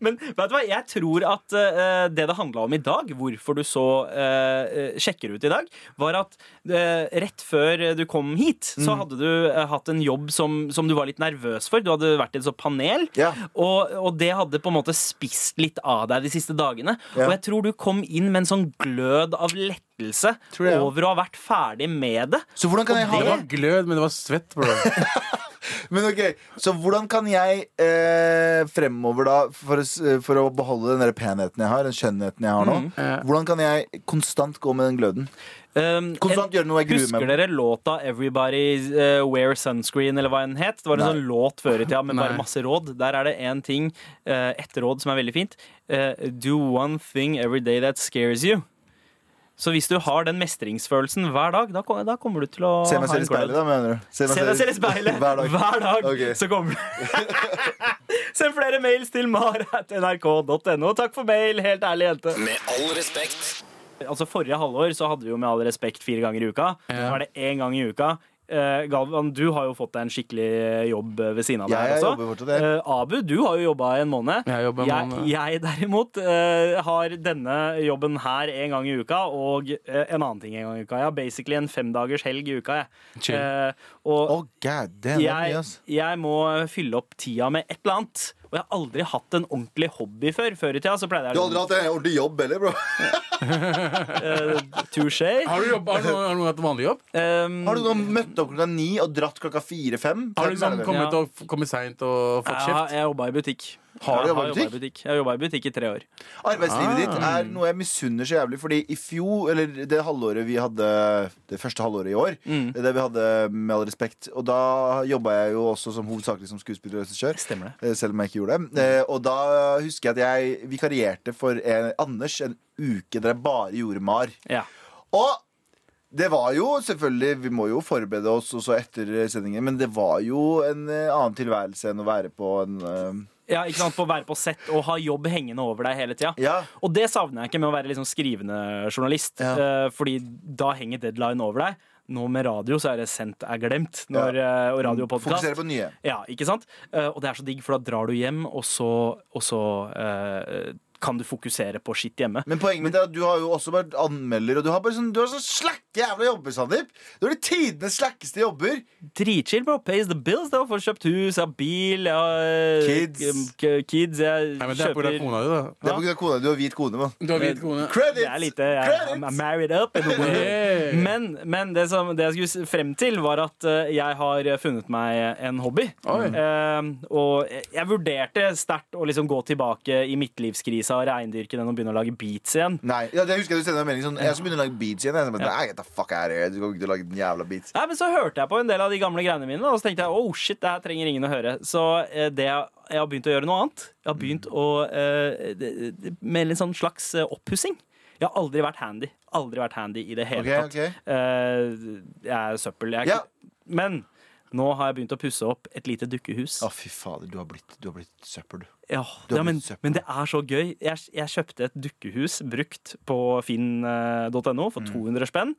Men vet du hva, jeg tror at eh, det det handla om i dag, hvorfor du så eh, eh, kjekkere ut i dag, var at eh, rett før du kom hit,
Mm.
så hadde du eh, hatt en jobb som, som du var litt nervøs for. Du hadde vært i et sånt panel,
Ja.
og, og det hadde på en måte spist litt av deg de siste dagene.
Ja.
Og jeg tror du kom inn med en sånn glød av lettelse
Tror jeg, ja.
over å ha vært ferdig med det.
Så hvordan kan jeg ha
Det var glød, men det var svett,
*laughs*
bro.
Men ok, Så hvordan kan jeg eh, fremover, da, for å, s- eh, for å beholde den der penheten jeg har, den skjønnheten jeg har nå,
Mm.
hvordan kan jeg konstant gå med den gløden?
Um,
Konstant gjøre noe jeg gruer
Husker
meg
dere låta 'Everybody eh, Wear Sunscreen'? eller hva den het? Det var en
Nei.
sånn låt før i tida med bare
Nei.
masse råd. Der er det én ting, eh, ett råd som er veldig fint. Eh, Do one thing every day that scares you. Så hvis du har den mestringsfølelsen hver dag, da, kom- da kommer du til å
Se meg
ha en
selv i speilet, da, mener du? Se
Se deg selv i speilet
*laughs* hver dag. Ok.
så kommer du *laughs* Send flere mails til mar.nrk.no. Takk for mail, helt ærlig jente.
Med all respekt.
Altså Forrige halvår så hadde vi jo Med all respekt fire ganger i uka. Nå er det én gang i uka. Eh, Galvan, du har jo fått deg en skikkelig jobb ved siden av
Ja,
deg.
jeg
også.
jobber fortsatt, jeg.
Eh, Abu, du har jo jobba i en måned.
Jeg jobber en måned.
Jeg, jeg derimot eh, har denne jobben her en gang i uka, og eh, en annen ting en gang i uka. Jeg har basically en femdagers helg i uka. Jeg.
Chill.
Eh, og
Oh, god damn, det er mye,
jeg,
ass.
jeg må fylle opp tida med et eller annet. Og jeg har aldri hatt en ordentlig hobby før. Før i tida så pleide jeg
Du har aldri hatt en ordentlig jobb heller, bro.
Eh, touché.
Har du, jobb, har du, har du hatt vanlig jobb?
Um,
Har du da møtt opp klokka ni og dratt klokka fire-fem?
Har du
sånn
liksom
Har
kommet, og- kommet seint og fått
Jeg,
kjeft?
har- jeg jobba i butikk.
Har du
Jeg
jobbet i butikk?
jobbet Jeg har jobba i butikk i tre år.
Arbeidslivet ditt
Ah.
er noe jeg misunner så jævlig. Fordi i fjor, eller det halvåret vi hadde Det første halvåret i år,
Mm.
det der vi hadde Med all respekt. Og da jobba jeg jo også som hovedsakelig som skuespiller og regissør.
Stemmer Mm.
Eh, Selv om jeg ikke gjorde det. Eh, Og da husker jeg at jeg vikarierte for eh, Anders en uke der jeg bare gjorde MAR.
Ja.
Og det var jo selvfølgelig Vi må jo forberede oss også etter sendingen, men det var jo en eh, annen tilværelse enn å være på en eh,
ja, ikke sant, På å være på sett og ha jobb hengende over deg hele tida.
Ja.
Og det savner jeg ikke med å være liksom skrivende journalist,
Ja.
eh, fordi da henger deadline over deg. Nå med radio så er det sendt er glemt, når, eh, og radio og podcast.
Fokusere på nye.
Ja, ikke sant? Eh, og det er så digg, for da drar du hjem, og så, og så eh, kan du fokusere på skitt hjemme.
Men poenget mitt er at du har jo også vært anmelder, og du har bare sånn, du har sånn slakke jævla jobber, Sandeep. Du har de tidenes slakkeste jobber.
Dritchill, bro. Pays the bills. da, Får kjøpt hus, jeg har bil, jeg har
Kids.
k- kids jeg
Nei, men Det er
kjøper
pga. kona di, da.
Det er på grunn av kona. Du har hvit kone, mann.
Du har hvit kone.
Credits!
Det er lite jeg, I'm
Credits!
married up. in the world.
Hey.
Men, men det, som, det jeg skulle s- frem til, var at eh, jeg har funnet meg en hobby.
Oi.
Eh, og jeg vurderte sterkt å liksom gå tilbake i midtlivskrisa seg av reindyrken enn å begynne å lage beats igjen.
Nei, ja, det husker jeg du sendte meg en melding sånn Jeg skal begynne å lage beats igjen. Jeg så bare, Nei, get the fuck out of here. Du kommer ikke til å lage den jævla beats.
Nei, men Så hørte jeg på en del av de gamle greiene mine, da, og så tenkte jeg oh shit, det her trenger ingen å høre. Så eh, det jeg, jeg har begynt å gjøre noe annet. Jeg har
Mm.
begynt å eh, det- det- Med en litt sånn slags eh, oppussing. Jeg har aldri vært handy. Aldri vært handy i det hele
Ok,
tatt. Eh, jeg er søppel. Jeg er
Ja.
ikke- Men nå har jeg begynt å pusse opp et lite dukkehus.
Å, fy fader. Du har blitt, du har blitt søppel, du.
Ja,
Du har
ja, men,
blitt søppel.
men det er så gøy. Jeg, jeg kjøpte et dukkehus brukt på eh, finn.no
Mm.
for 200 spenn.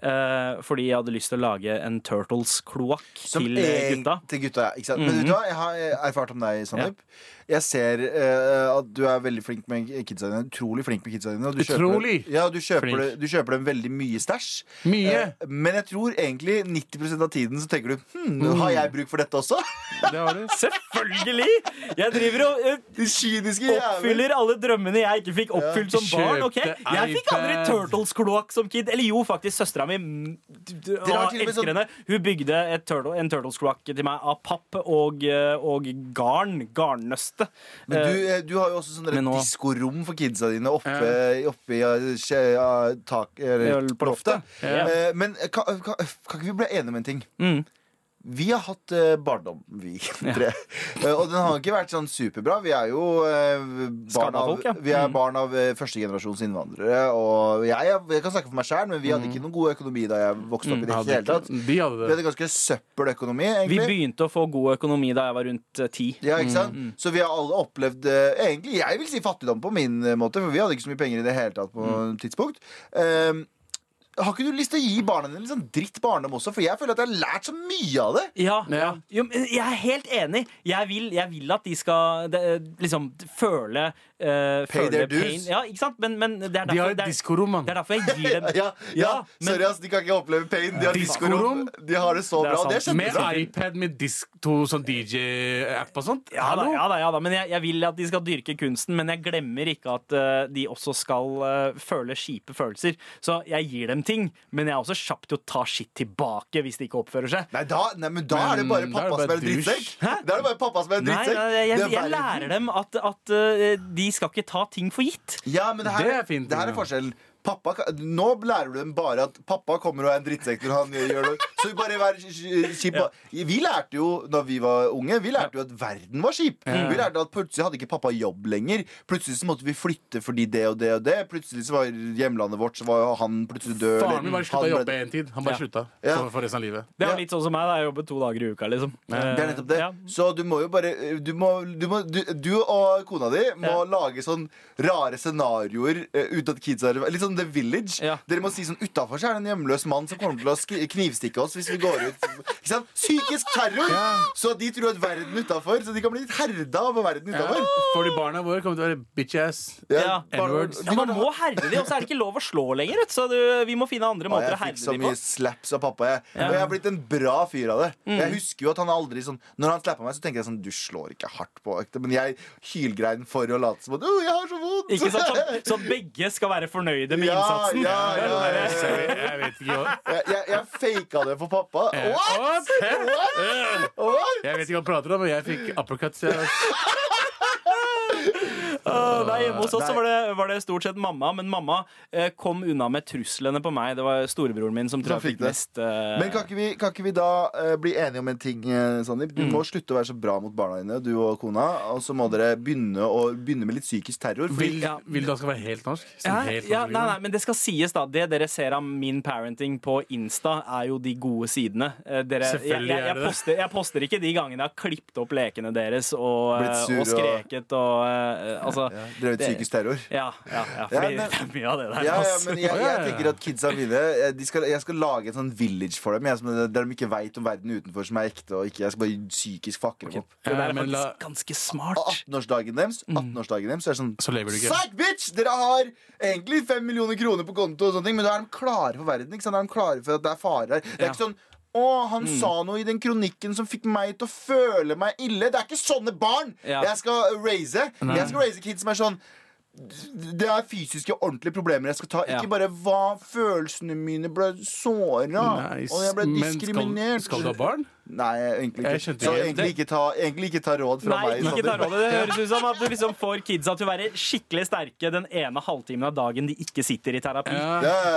eh, fordi jeg hadde lyst til å lage en Turtles-kloakk til eh,
en-
gutta.
Til gutta, ja, ikke sant? Men vet du hva, jeg har eh, erfart om deg, Sandeep. Jeg ser eh, at du er veldig flink med kidsa dine. Utrolig flink med kidsa dine. og Du
Utrolig
Kjøper, ja, du kjøper,
flink.
det- du kjøper dem veldig mye stæsj.
Mye!
Eh, Men jeg tror egentlig 90 av tiden så tenker du hm, har jeg bruk for dette også? *laughs*
Det har du.
Selvfølgelig! Jeg driver og
*laughs*
eh,
De kyniske
oppfyller alle drømmene jeg ikke fikk oppfylt som barn. ok?
Kjøpte
Jeg fikk aldri
iPad.
Turtles-kloakk som kid. Eller jo, faktisk, søstera mi mm, d- d-
Dere
å,
har til og med
elsker
sånn-
henne. Hun bygde et turtle, en Turtles-kloakk til meg av papp og, eh, og garn. Garnnøste.
Men
Eh,
du, eh, du har jo også sånne
Men nå-
diskorom for kidsa dine oppe,
Ja.
oppe i eh, skje- ja, tak, eller,
Eller på
på loftet.
loftet. Ja.
Eh, Men eh, kan, kan, kan ikke vi bli enige om en ting?
Mm.
Vi har hatt eh, barndom, vi *laughs* tre. Eh, og den har ikke vært sånn superbra. Vi er jo eh, barn
Skada
av,
folk, ja. Mm.
vi er barn av eh, førstegenerasjons innvandrere. Og jeg, jeg kan snakke for meg sjæl, men
Mm.
vi hadde ikke noen god økonomi da jeg vokste opp. i det
Hadde
hele tatt
ikke- De hadde
Vi
det.
hadde ganske søppeløkonomi,
Vi
egentlig.
begynte å få god økonomi da jeg var rundt eh, ti.
Ja, ikke sant? Så vi har alle opplevd eh, Egentlig, jeg vil si fattigdom på min eh, måte, for vi hadde ikke så mye penger i det hele tatt på
Mm.
et tidspunkt. Ehm, har ikke du lyst til å gi barna dine litt sånn dritt barndom også? For jeg føler at jeg har lært så mye av det. *laughs*
Ja,
Ja.
Jo, men Jeg er helt enig. Jeg vil, jeg vil at de skal de, liksom føle, eh,
Pay their
føle
dues.
pain. Ja, ikke sant? Men, men det, er
De
derfor,
har et
det, er,
diskorom, mann.
det er derfor jeg gir dem
*laughs* Ja, ja,
Ja, men-
Sorry, ass, de kan ikke oppleve pain. De har diskorom.
Diskorom?
De har det så
Det er
bra. og Det
sant.
skjønner
Med
du.
iPad, med disk, to sånn DJ-app og sånt.
Ja da,
Hallo?
ja da, ja da. Men jeg, jeg vil at de skal dyrke kunsten, men jeg glemmer ikke at eh, de også skal eh, føle kjipe følelser. Så jeg gir dem ting, men jeg er også kjapp til å ta skitt tilbake hvis de ikke oppfører seg.
Nei, da, nei, men da er det
Men
bare
da er det
pappa
bare
som er en
douche.
drittsekk. Da er det bare pappa som er en
Nei,
drittsekk.
nei, jeg,
Det
jeg,
er
jeg
verden.
lærer dem at, at eh, de skal ikke ta ting for gitt.
Ja, men det her,
Det
det
er fint,
her er
ja.
forskjellen. Pappa, kan- nå lærer du dem bare at pappa kommer og er en drittsekk når han gjør det. Så bare vær sk- kjip. Vi lærte jo da vi var unge, vi lærte jo at verden var kjip. Vi lærte at plutselig hadde ikke pappa jobb lenger. Plutselig så måtte vi flytte fordi det og det og det. Plutselig så var hjemlandet vårt, så var han plutselig død. eller
Faren min bare slutta å
han ble-
jobbe en tid. Han bare
Ja.
slutta
Ja.
for, for resten av livet.
Det er
Ja.
litt sånn som meg. da Jeg jobber to dager i uka. liksom
Det er nettopp det. Så du må jo bare eh, Du, må, du, må, du, du og kona di må
Ja.
lage sånn rare scenarioer eh, uten at kidsa er Litt sånn The Village.
Ja.
Dere må si sånn utafor er det en hjemløs mann som kommer til å sk- knivstikke oss hvis vi går ut. Ikke sant? Psykisk terror! Så de tror at verden utafor Så de kan bli litt herda av verden utafor.
For de barna våre kommer til å være bitch-ass.
Ja.
N-words.
Ja, Man må herde de, og så er det ikke lov å slå lenger. vet du, Så du, vi må finne andre
Og
måter
jeg
å
fikk så
herde de på.
mye slaps av pappa. Jeg. Og jeg har blitt en bra fyr av det.
Mm.
Jeg husker jo at han aldri sånn Når han slappa meg, så tenker jeg sånn Du slår ikke hardt på økta. Men jeg hylgrein for å late som at «Åh, jeg har så vondt.
Ikke sant?
*laughs*
Sånn, sånn at begge skal være fornøyde med
Ja,
innsatsen.
ja, ja,
Det er
ja.
bare-
Så Jeg, jeg vet ikke hva
Jeg, jeg, jeg faka det for pappa. What?
What? What?
What?
Jeg vet ikke hva han prater om, men jeg fikk uppercuts. Jeg.
Åh, nei, hjemme hos oss så
Nei.
var det, var det stort sett mamma, men mamma eh, kom unna med truslene på meg. Det var storebroren min som tror
Som
jeg
fikk
fikk
det.
mest. eh,
Men kan ikke vi, kan ikke vi da eh, bli enige om en ting, eh, Sandeep?
Mm.
Du må slutte å være så bra mot barna dine, du og kona. Og så må dere begynne, å, begynne med litt psykisk terror. Fordi,
Vil, vil du han skal være helt norsk? Sånn
Ja,
helt norsk
ja, nei, nei,
liksom.
men det skal sies, da. Det dere ser av min parenting på Insta, er jo de gode sidene. Eh, Dere, jeg,
Selvfølgelig
jeg,
er
jeg,
det det.
poster, jeg poster ikke de gangene jeg har klippet opp lekene deres og,
Blitt sur
eh, og
og-
skreket og eh, Altså.
ja, drevet
det-
psykisk terror.
Ja, ja, ja, fordi *laughs*
Ja, men-
det er mye av det der.
Ja, ja,
altså.
men jeg, jeg tenker at kidsa mine eh, de skal, Jeg skal lage et sånn village for dem jeg, som, der de ikke veit om verden utenfor som er ekte. Og ikke, jeg skal bare psykisk fucke dem opp.
Det der
Ja,
er
men
faktisk
la-
ganske
Og
smart.
18-årsdagen deres, 18-årsdagen deres så er det sånn
Så lever du ikke.
Psych, bitch! Dere har egentlig 5 millioner kroner på konto, og sånne ting, men da er de klare for verden. ikke sant? Da er de klare for at det er fare her. Det er
Ja.
ikke sånn å, han sa noe i den kronikken som fikk meg til å føle meg ille. Det er ikke sånne barn
Ja.
jeg skal raise. Jeg skal raise kids som er sånn det er fysiske, ordentlige problemer jeg skal ta.
Ja.
Ikke bare hva følelsene mine ble såra,
Nice.
og jeg ble
Men skal,
diskriminert.
skal du ha barn?
Nei, egentlig
Jeg
ikke.
skjønte
Så
ikke
egentlig ikke, ta, egentlig ikke ta råd fra
Nei,
meg.
ikke ta
Sander.
rådet. Det høres
*laughs*
ut som at du liksom får kidsa til å være skikkelig sterke den ene halvtimen av dagen de ikke sitter i terapi.
Ja, ja, ja, ja.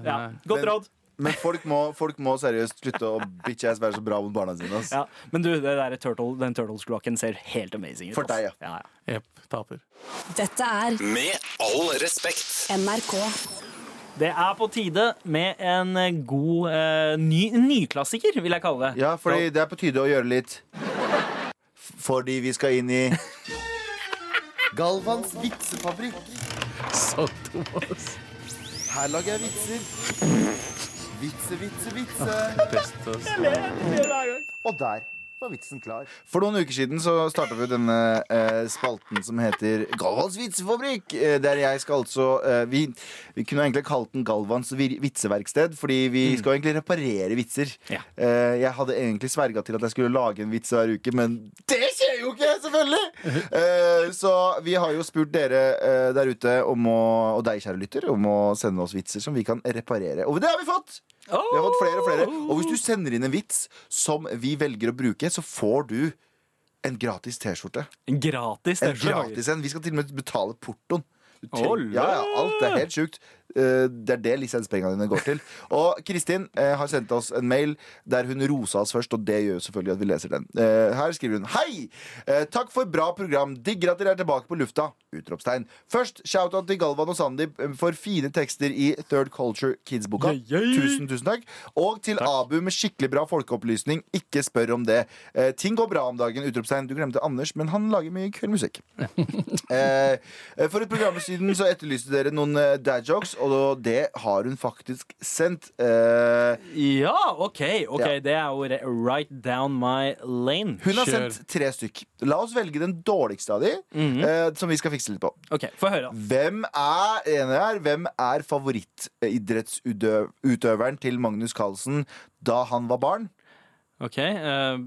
Ja,
Eh, nei.
Godt
Men-
råd.
Men folk må, folk må seriøst slutte å bitch-ass være så bra mot barna sine. ass.
Ja. Men du, det der turtle, den turtles-kloakken ser helt amazing ut.
For deg, ja.
ass. ja, ja.
Jepp. Taper.
Dette er
Med all respekt.
NRK.
Det er på tide med en god eh, ny, nyklassiker, vil jeg kalle det.
Ja, fordi det er på tide å gjøre litt F- Fordi vi skal inn i Galvans vitsefabrikk
Så Thomas.
Her lager jeg vitser Vitse, vitse, vitse
Best, altså.
Og der var vitsen klar For noen uker siden så startet vi denne eh, spalten som heter Galvans vitsefabrikk eh, Der jeg skal altså eh, vi, vi kunne egentlig kalt den Galvans vir- vitseverksted Fordi vi skal egentlig reparere vitser
Ja.
Eh, Jeg hadde egentlig sverget til at jeg skulle lage en vits hver uke Men det skjer jo ikke, selvfølgelig! Eh, Så vi har jo spurt dere eh, der ute om å, Og deg, kjære lytter, om å sende oss vitser som vi kan reparere Og det har vi fått! Vi har fått flere og flere.
Oh!
Og hvis du sender inn en vits som vi velger å bruke, så får du en gratis T-skjorte.
En gratis
En
T-skjorte.
gratis en. Vi skal til og med betale portoen. Du
Ole!
trenger- Ja, ja, alt er helt sjukt. Eh, Det er det lisenspengene dine går til. Og Kristin eh, har sendt oss en mail der hun rosa oss først, og det gjør jo selvfølgelig at vi leser den. Eh, Her skriver hun Hei! Eh, Takk for bra program. Digger at dere er tilbake på lufta. Utropstegn. Først shout-out til Galvan og Sandeep eh, for fine tekster i Third Culture Kids-boka.
Yeah, yeah, yeah.
Tusen, tusen takk. Og til Abu med skikkelig bra folkeopplysning. Ikke spør om det. Eh, ting går bra om dagen. Utropstegn. Du glemte Anders, men han lager mye kul musikk. Eh, for et program siden så etterlyste dere noen eh, dad jokes, og det har hun faktisk sendt. Eh,
Ja, OK. ok,
Ja.
Det er jo re- right down my lane.
hun har
Kjør.
sendt tre stykk. La oss velge den dårligste av de, eh, som vi skal fikse litt på.
OK, få høre. da.
Hvem er, ene her, hvem er favorittidrettsutøveren til Magnus Carlsen da han var barn?
OK. eh,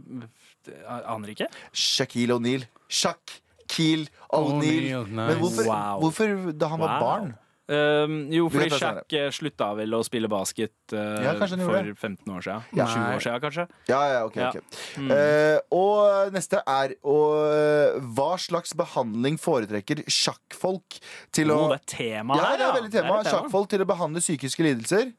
jeg aner ikke.
Shaquille O'Neal. Shaquille O'Neal.
O'Neal,
Men
nice.
hvorfor,
Wow.
hvorfor da han var
Wow.
barn?
Um, jo,
Vi
fordi
kan ta senere.
Shaq eh, slutta vel å spille basket eh,
Ja, kanskje han gjorde
for
det.
15 år siden.
Ja.
20 år siden, kanskje.
Ja, ja, ok,
Ja.
ok Eh, Og neste er og, Hva slags behandling foretrekker sjakkfolk til
Å,
å
det er tema
ja,
her,
det er veldig tema.
et
Sjakkfolk til å behandle psykiske lidelser.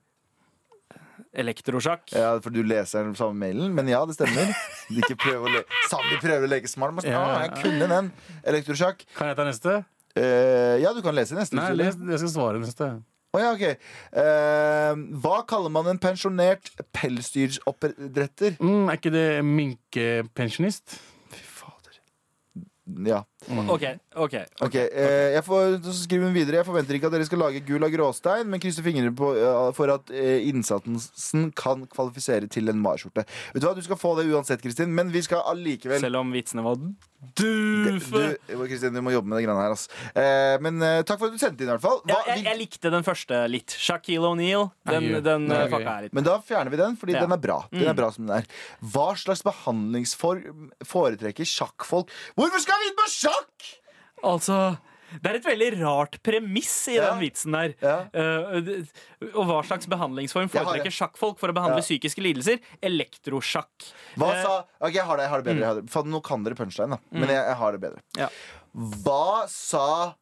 Elektrosjakk.
Ja, For du leser den samme mailen, men ja, det stemmer. Ikke prøv å le Sandi prøver å leke smart. Men,
Ja.
ah, jeg kunne den. Elektrosjakk.
Kan jeg ta neste?
Eh, ja, du kan lese neste.
Nei,
hvis du vil.
les, jeg skal svare neste.
Å ja, ok. Eh, hva kaller man en pensjonert pelsdyroppdretter?
Mm, er ikke det minkepensjonist?
Fy fader. Ja.
OK. ok
Ok, eh, jeg får, så skriver hun videre Jeg forventer ikke at dere skal lage gul av gråstein Men krysser fingrene på, ja, for at eh, innsatsen kan kvalifisere til en marskjorte Vet du hva, du skal få det uansett, Kristin Men vi skal allikevel
Selv om vitsene var
du,
dufe.
Kristin, du må jobbe med det grann her ass. eh, Men eh, takk for at du sendte inn i hvert fall
Ja,
Hva-
jeg, jeg likte den første litt. Shaquille O'Neal. Den,
Nei,
den
nei,
eh,
gøy.
fucka jeg litt.
Men da fjerner vi den, fordi
Ja. Mm.
den er bra. Den er bra som den er. Hva slags behandlingsform foretrekker sjakkfolk? Hvorfor skal vi inn på sjakk?!
Altså det er et veldig rart premiss i
Ja.
den vitsen der.
Ja.
Eh, det- og hva slags behandlingsform
Jeg har
foretrekker
det.
sjakkfolk for å behandle psykiske lidelser? Elektrosjakk.
Hva
Eh, mm.
sa Ok, jeg har det, jeg har det bedre. Jeg har det. Faen, nå kan dere punchline, da. Men jeg, jeg har det bedre.
Ja.
Hva sa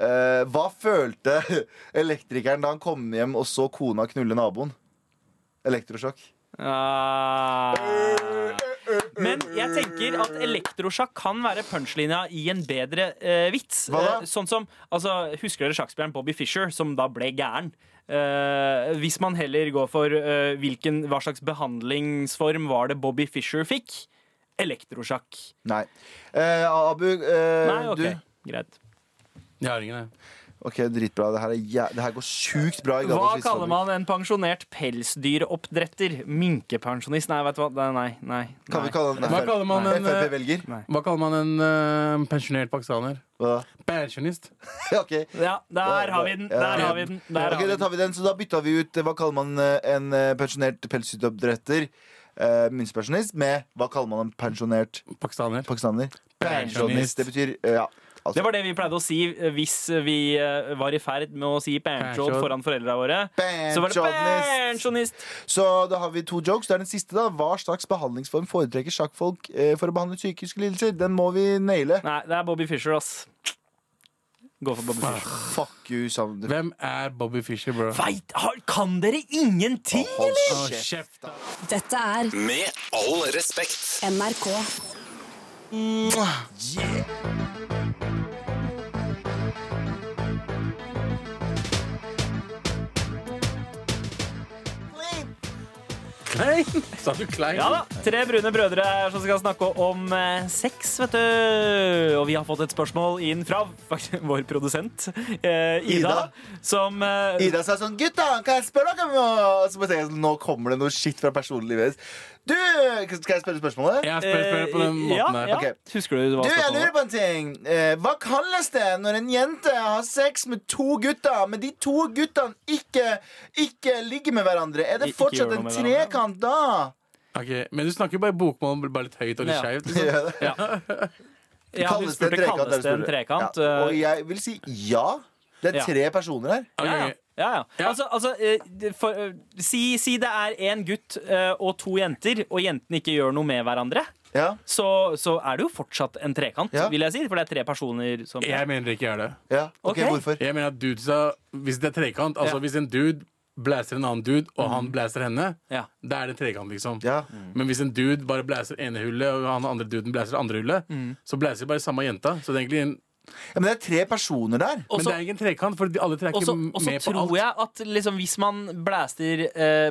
eh, Hva følte *laughs* elektrikeren da han kom hjem og så kona knulle naboen? Elektrosjokk.
Ah. Men jeg tenker at elektrosjakk kan være punchlinja i en bedre eh, vits.
Hva da?
Eh, sånn som, altså, Husker dere sjakkspilleren Bobby Fischer, som da ble gæren? Eh, hvis man heller går for eh, hvilken, hva slags behandlingsform var det Bobby Fischer fikk? Elektrosjakk.
Nei. Eh, Abu, eh,
Nei, OK.
du
Greit.
Jeg har ingen, jeg.
OK, dritbra. Det her, er jæ det her går sjukt bra. i
Hva
Galvans
kaller
vitsefabrikk.
man en pensjonert pelsdyroppdretter? Minkepensjonist? Nei, vet du hva. Nei, nei. nei.
Kan vi kalle den
Hva kaller man en, eh,
Frp-velger?
Nei.
Hva kaller man en eh, pensjonert pakistaner?
Hva *laughs* da?
Pensjonist.
Ok.
Ja, der har vi den! Der har vi den. Der har vi
Ok, da
den.
tar vi den, så da bytta vi ut eh, Hva kaller man eh, en eh, pensjonert pelsdyroppdretter? Eh, Minstepensjonist med Hva kaller man en pensjonert
Pakistaner.
pakistaner?
Pensjonist.
Det betyr eh, ja, altså.
Det var det vi pleide å si eh, hvis vi eh, var i ferd med å si banchod
Banchod.
foran foreldra våre. Så var det
Banchod-nist.
banchonist.
Så da har vi to jokes. Det er den siste, da. Hva slags behandlingsform foretrekker sjakkfolk eh, for å behandle psykiske lidelser? Den må vi naile.
Nei, det er Bobby Fischer, ass. Gå for Bobby Fischer.
Fuck you, Sander.
Hvem er Bobby Fischer, bro?
Veit, har- kan dere ingenting,
Hold
eller?
Å,
kjeft.
kjeft, da.
Dette er
Med all respekt.
NRK.
Klein? *laughs* Sa du klein?
Ja da. Tre brune brødre er som skal snakke om eh, sex, vet du. Og vi har fått et spørsmål inn fra *laughs* faktisk, vår produsent, eh, Ida,
Ida.
som eh,
Ida sa sånn Gutta, kan jeg spørre dere om noe? Så bare tenker jeg sånn, Nå kommer det noe shit fra personlivet hennes. Du, skal jeg spørre spørsmålet?
Jeg spør, spør på den
eh, ja,
måten der.
ja.
Ok.
Husker du hva
Du, jeg
spørsmålet
lurer
var?
på en ting. Eh, hva kalles det når en jente har sex med to gutter, men de to guttene ikke, ikke ligger med hverandre? Er det
Ikke gjør
fortsatt
noe
en
med
trekant da?
Ok, Men du snakker jo bare bokmål, bare litt høyt og litt
Ja. *laughs*
skeivt. Liksom.
Ja.
Ja, du spurte kalles det en trekant.
Ja.
eh,
Og jeg vil si ja. Det er
Ja.
tre personer her.
Ok,
Ja, ja.
ok.
ja, ja.
Ja.
Altså, altså eh, det- for, eh, si, si det er én gutt eh, og to jenter, og jentene ikke gjør noe med hverandre,
Ja.
så, så er det jo fortsatt en trekant,
Ja.
vil jeg si. For det er tre personer som
Jeg mener ikke er det.
ja. Ok,
Ok.
hvorfor?
Jeg mener at dudesa, Hvis det er trekant,
Ja.
altså
Mm.
hvis en dude blæser en annen dude, og han blæser henne,
Ja. Mm.
da er det trekant, liksom.
Ja.
Men hvis en dude bare blæser ene hullet, og han andre duden blæser andre hullet,
Mm.
så blæser bare samme jenta. Så det er egentlig en,
ja, Men det er tre personer der.
Også-
men det er ikke en trekant, for de alle tre er
Og
ikke
så og så
med på
tror
alt.
jeg at liksom, hvis man blæster eh,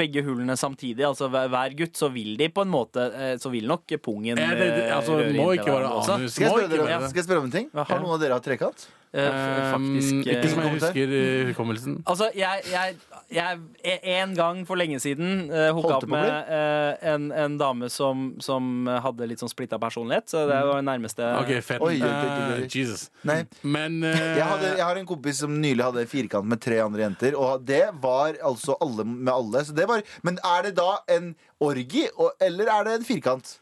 begge hullene samtidig, altså hver, hver gutt, så vil de på en måte eh, Så vil nok pungen
Jeg, det, det,
eh,
altså,
røre
må
inntil
ikke være
hverandre også.
anus.
Skal jeg
Må
spørre,
ikke
dere,
være det.
skal jeg spørre om en ting? Har noen av dere hatt trekant?
Eh, f-
Um,
faktisk eh,
ikke som jeg
kommentar.
husker eh, hukommelsen.
Altså, jeg, jeg, jeg En gang for lenge siden uh, hooka
Holdt
opp
det på å
med eh, en, en dame som, som hadde litt sånn splitta personlighet. Så det
Mm.
var det nærmeste
OK, fett.
Oi, oi, oi, oi.
Eh, Jesus.
Nei.
Men eh,
Jeg, hadde, jeg har en kompis som nylig hadde en firkant med tre andre jenter. Og det var altså alle med alle. Så det var, men er det da en orgi, og, eller er det en firkant?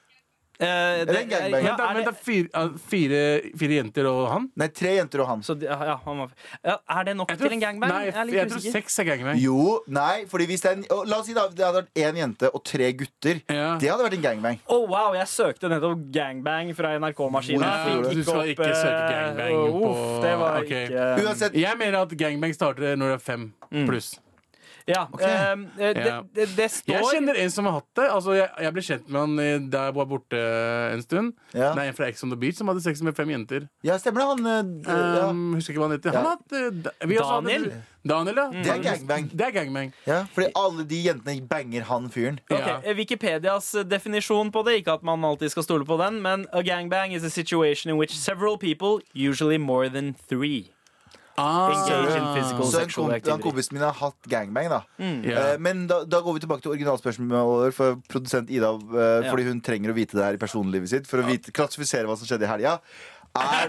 Eh,
det en gangbang?
ja,
Vent, da,
er
vent, da,
det-
fire, ah, fire, fire jenter og han?
Nei, tre jenter og han.
så, de- ja, han var, ja, er det nok
Jeg tror-
til en gangbang?
Nei,
jeg er
jeg
litt
tror
usikker.
seks er gangbang.
Jo, nei, fordi hvis det er en, og La oss si da, det hadde vært én jente og tre gutter.
Ja.
Det hadde vært en gangbang.
Å, wow, jeg søkte nettopp gangbang fra NRK-maskinen.
Nei,
Jeg fikk
du skal ikke
eh,
søke gangbang på-
Uff, det var
Ok.
ikke
Uansett,
Jeg mener at gangbang starter når det er fem pluss.
Ja. eh, eh, det,
Ja.
det, det
Jeg
står
kjenner en som har hatt det. Altså, jeg, jeg ble kjent med han eh, da jeg var borte eh, en stund.
Ja.
Det er en fra Ex on the Beach som hadde sex med fem jenter.
ja, stemmer det, han eh, ja.
Um, husker ikke hva han heter.
Ja. Mm.
Han har hatt, eh, da- vi også hadde-
Daniel?
Daniel, ja.
Det er gangbang.
Det er gangbang.
ja, Fordi alle de jentene banger han fyren.
Ok,
Ja.
eh, Wikipedias eh, definisjon på det, ikke at man alltid skal stole på den, men a gangbang is a situation in which several people, usually more than three,
Ah,
engage in physical
Så en,
sexual
komp en
activity. Mm.
kompis min har hatt gangbang, da.
Ja.
Eh, Men da, da går vi tilbake til originalspørsmålet, for produsent Ida eh,
Ja.
Fordi hun trenger å vite det her i personlivet sitt for å vite, klassifisere hva som skjedde i helga. Er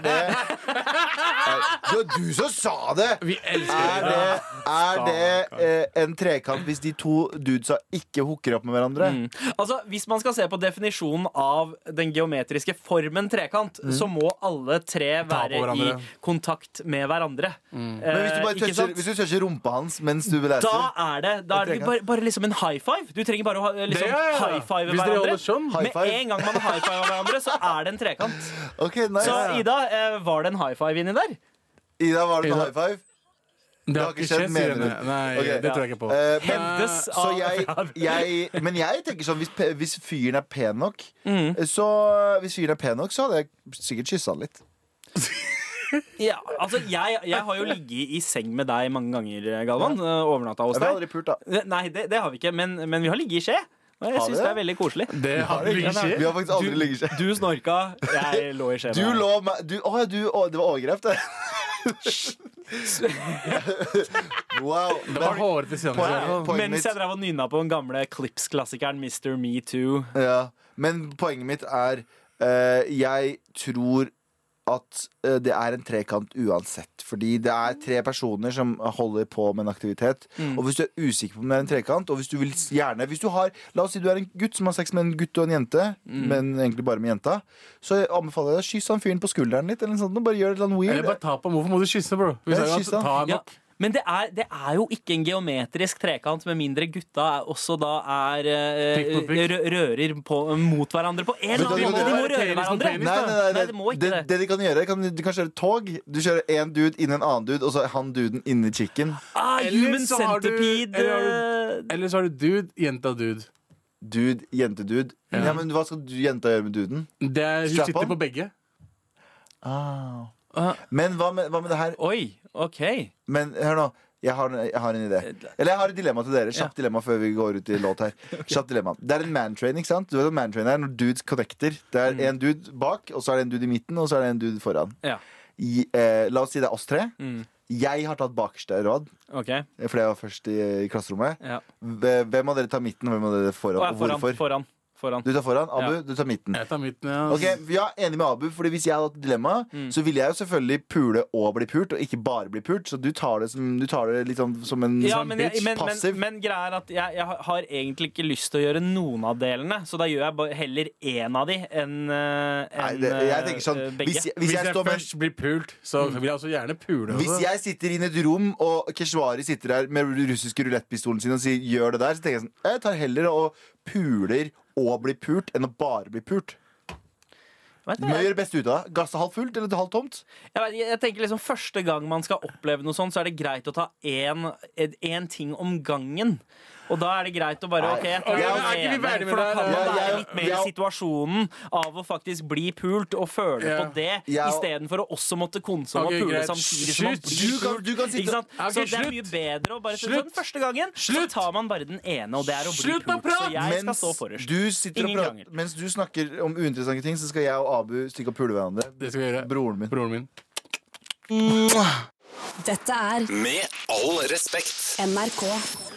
*laughs*
det Eh, Det var du som sa det!
Vi elsker
Er
det.
det, er det eh, en trekant hvis de to dudesa ikke hooker opp med hverandre?
Altså, Hvis man skal se på definisjonen av den geometriske formen trekant,
Mm.
så må alle tre
Ta på
være i
hverandre.
kontakt med hverandre. Eh,
Mm. Men hvis du bare
ikke
toucher,
sant?
hvis du toucher rumpa hans mens du leser
da er det, da er det
trekant.
bare, bare liksom en high five. Du trenger bare å ha- liksom,
Det, ja, ja.
high five
Hvis dere
hverandre.
holder sånn.
High five.
Med en gang man high five hverandre, så er det en trekant.
*laughs* Ok, nice.
Så Ida, eh, var det en high five inni der?
Ida, var det en
Ida.
high five?
Det har ikke skjedd, sier
mener du?
henne. Nei,
Ok.
det tror jeg ikke på.
Eh, men,
Hevdes
så
av
jeg, jeg, men jeg tenker sånn, hvis, pe- hvis fyren er pen nok, eh, så hvis fyren er pen nok, så hadde jeg sikkert kyssa han litt.
Ja, altså jeg, jeg har jo ligget i seng med deg mange ganger, Galvan. eh, Overnatta hos
Jeg ble
deg.
aldri pult, da.
Nei, det, det har vi ikke, men, men vi har ligget i skje. Og jeg
Har vi
syns det
det?
er veldig koselig.
Det har
Vi
ikke skjedd.
har faktisk aldri
Du-
ligget seg.
Du snorka,
*laughs*
jeg lå i skje. med
Du
deg.
lå meg du, Å ja, du å, Det var overgrep, det. *laughs* wow.
Det var hårete
Poeng-
seanser.
poenget
Mens jeg
mitt-
drev og nynna på den gamle Clips-klassikeren Mr. Metoo.
Ja, men poenget mitt er eh, Jeg tror at eh, det er en trekant uansett. Fordi det er tre personer som holder på med en aktivitet.
Mm.
Og hvis du er usikker på om det er en trekant, og hvis du vil s- gjerne hvis du har, La oss si du er en gutt som har sex med en gutt og en jente,
Mm.
men egentlig bare med jenta, så anbefaler jeg deg å kysse han fyren på skulderen litt, eller noe sånt, og bare gjør et eller annet
Eller
weird.
bare ta på Hvorfor må du kysse, bro? Vi
Ja,
sa jo at
kyss da.
ta en
Ja,
opp.
men det er, det er jo ikke en geometrisk trekant, med mindre gutta er, også da er eh,
Prikk mot prikk.
rø- Rører på, mot hverandre på en
Men
eller
det-
annen måte. De må
det-
røre
det-
hverandre.
det-
Nei, nei, nei,
Nei, det må ikke
det,
det.
det de kan gjøre, kan, du kan kjøre tog. Du kjører én dude inn i en annen dude, og så er han duden inni chicken.
Ah,
Eller
human
så har du-
centipede
eller har
eh,
Eller så har du dude, jenta dude.
Dude, jentedude. Ja.
Ja.
men hva skal du, jenta gjøre med duden?
Det er, hun
Strap
sitter
on?
på begge.
Ah.
Men hva med, hva med det her?
Oi, OK.
Men hør nå. Jeg har, jeg har en idé.
Eh,
Eller jeg har et dilemma til dere. Kjapt dilemma før vi går ut i låt
*laughs*
her. Kjapt dilemma Det er en mantrain, ikke sant? Du vet at mantrain er når dudes connecter. Det
Mm.
er en dude bak, og så er det en dude i midten, og så er det en dude foran.
Ja.
I, eh, la oss si det er oss tre.
Mm.
Jeg har tatt bakerste rad, eh,
ok
fordi jeg var først i, i klasserommet.
ja.
Hve- Hvem av dere tar midten, og hvem av dere foran?
Å, ja,
Og
foran,
hvorfor?
foran. foran.
Du tar foran, Abu.
Ja.
Du tar midten.
Jeg tar midten. Ja.
Ok, ja, Enig med Abu, Fordi hvis jeg hadde hatt et dilemma,
Mm.
så ville jeg jo selvfølgelig pule og bli pult, og ikke bare bli pult. Så du tar det som, du tar det liksom som en
Ja,
som
men,
en
jeg,
bitch.
men, men,
passiv.
men greia er at jeg, jeg har- har egentlig ikke lyst til å gjøre noen av delene, så da gjør jeg bare heller én av de enn eh,
Nei,
enn,
det, jeg
eh,
tenker sånn
eh,
Hvis jeg, hvis
Hvis
jeg,
jeg
står med,
først blir pult, så vil jeg også gjerne pule. altså.
hvis
også.
jeg sitter inne i et rom, og Keshvari sitter der med den russiske rulettpistolen sin og sier 'gjør det der', så tenker jeg sånn Jeg tar heller og puler og blir pult enn å bare bli pult.
Vet
Du
du,
må
jeg,
gjøre det beste ut av det. Gasse halvt fullt eller halvt tomt.
jeg, vet- jeg tenker liksom Første gang man skal oppleve noe sånt, så er det greit å ta én én ting om gangen. Og da er det greit å bare
Nei.
OK, jeg
Ok,
tar den
men er ikke vi
ene,
ferdig med
for da
det
kan man
her?
Jeg-
være
jeg-
litt mer i
jeg-
situasjonen av å faktisk bli pult og føle
Ja.
på det,
Jeg-
istedenfor å også måtte konsomme
Ok,
og pule
greit.
samtidig som man
Skyt,
blir
Du kan, du kan
Ikke
sitte
sant?
Ok,
så det er
slutt.
mye bedre å bare si
Slutt.
sånn første gangen. Så
Slutt.
tar man bare den ene, og det er å bli
Slutt å
pult. Så
prate.
jeg skal
Mens
stå forrest.
du, sitter og
Ingen
prater,
krangel.
mens du snakker om uinteressante ting, så skal jeg og Abu stikke og pule hverandre.
Det skal jeg gjøre.
Broren min.
Broren min.
Dette er
Med all respekt.
NRK.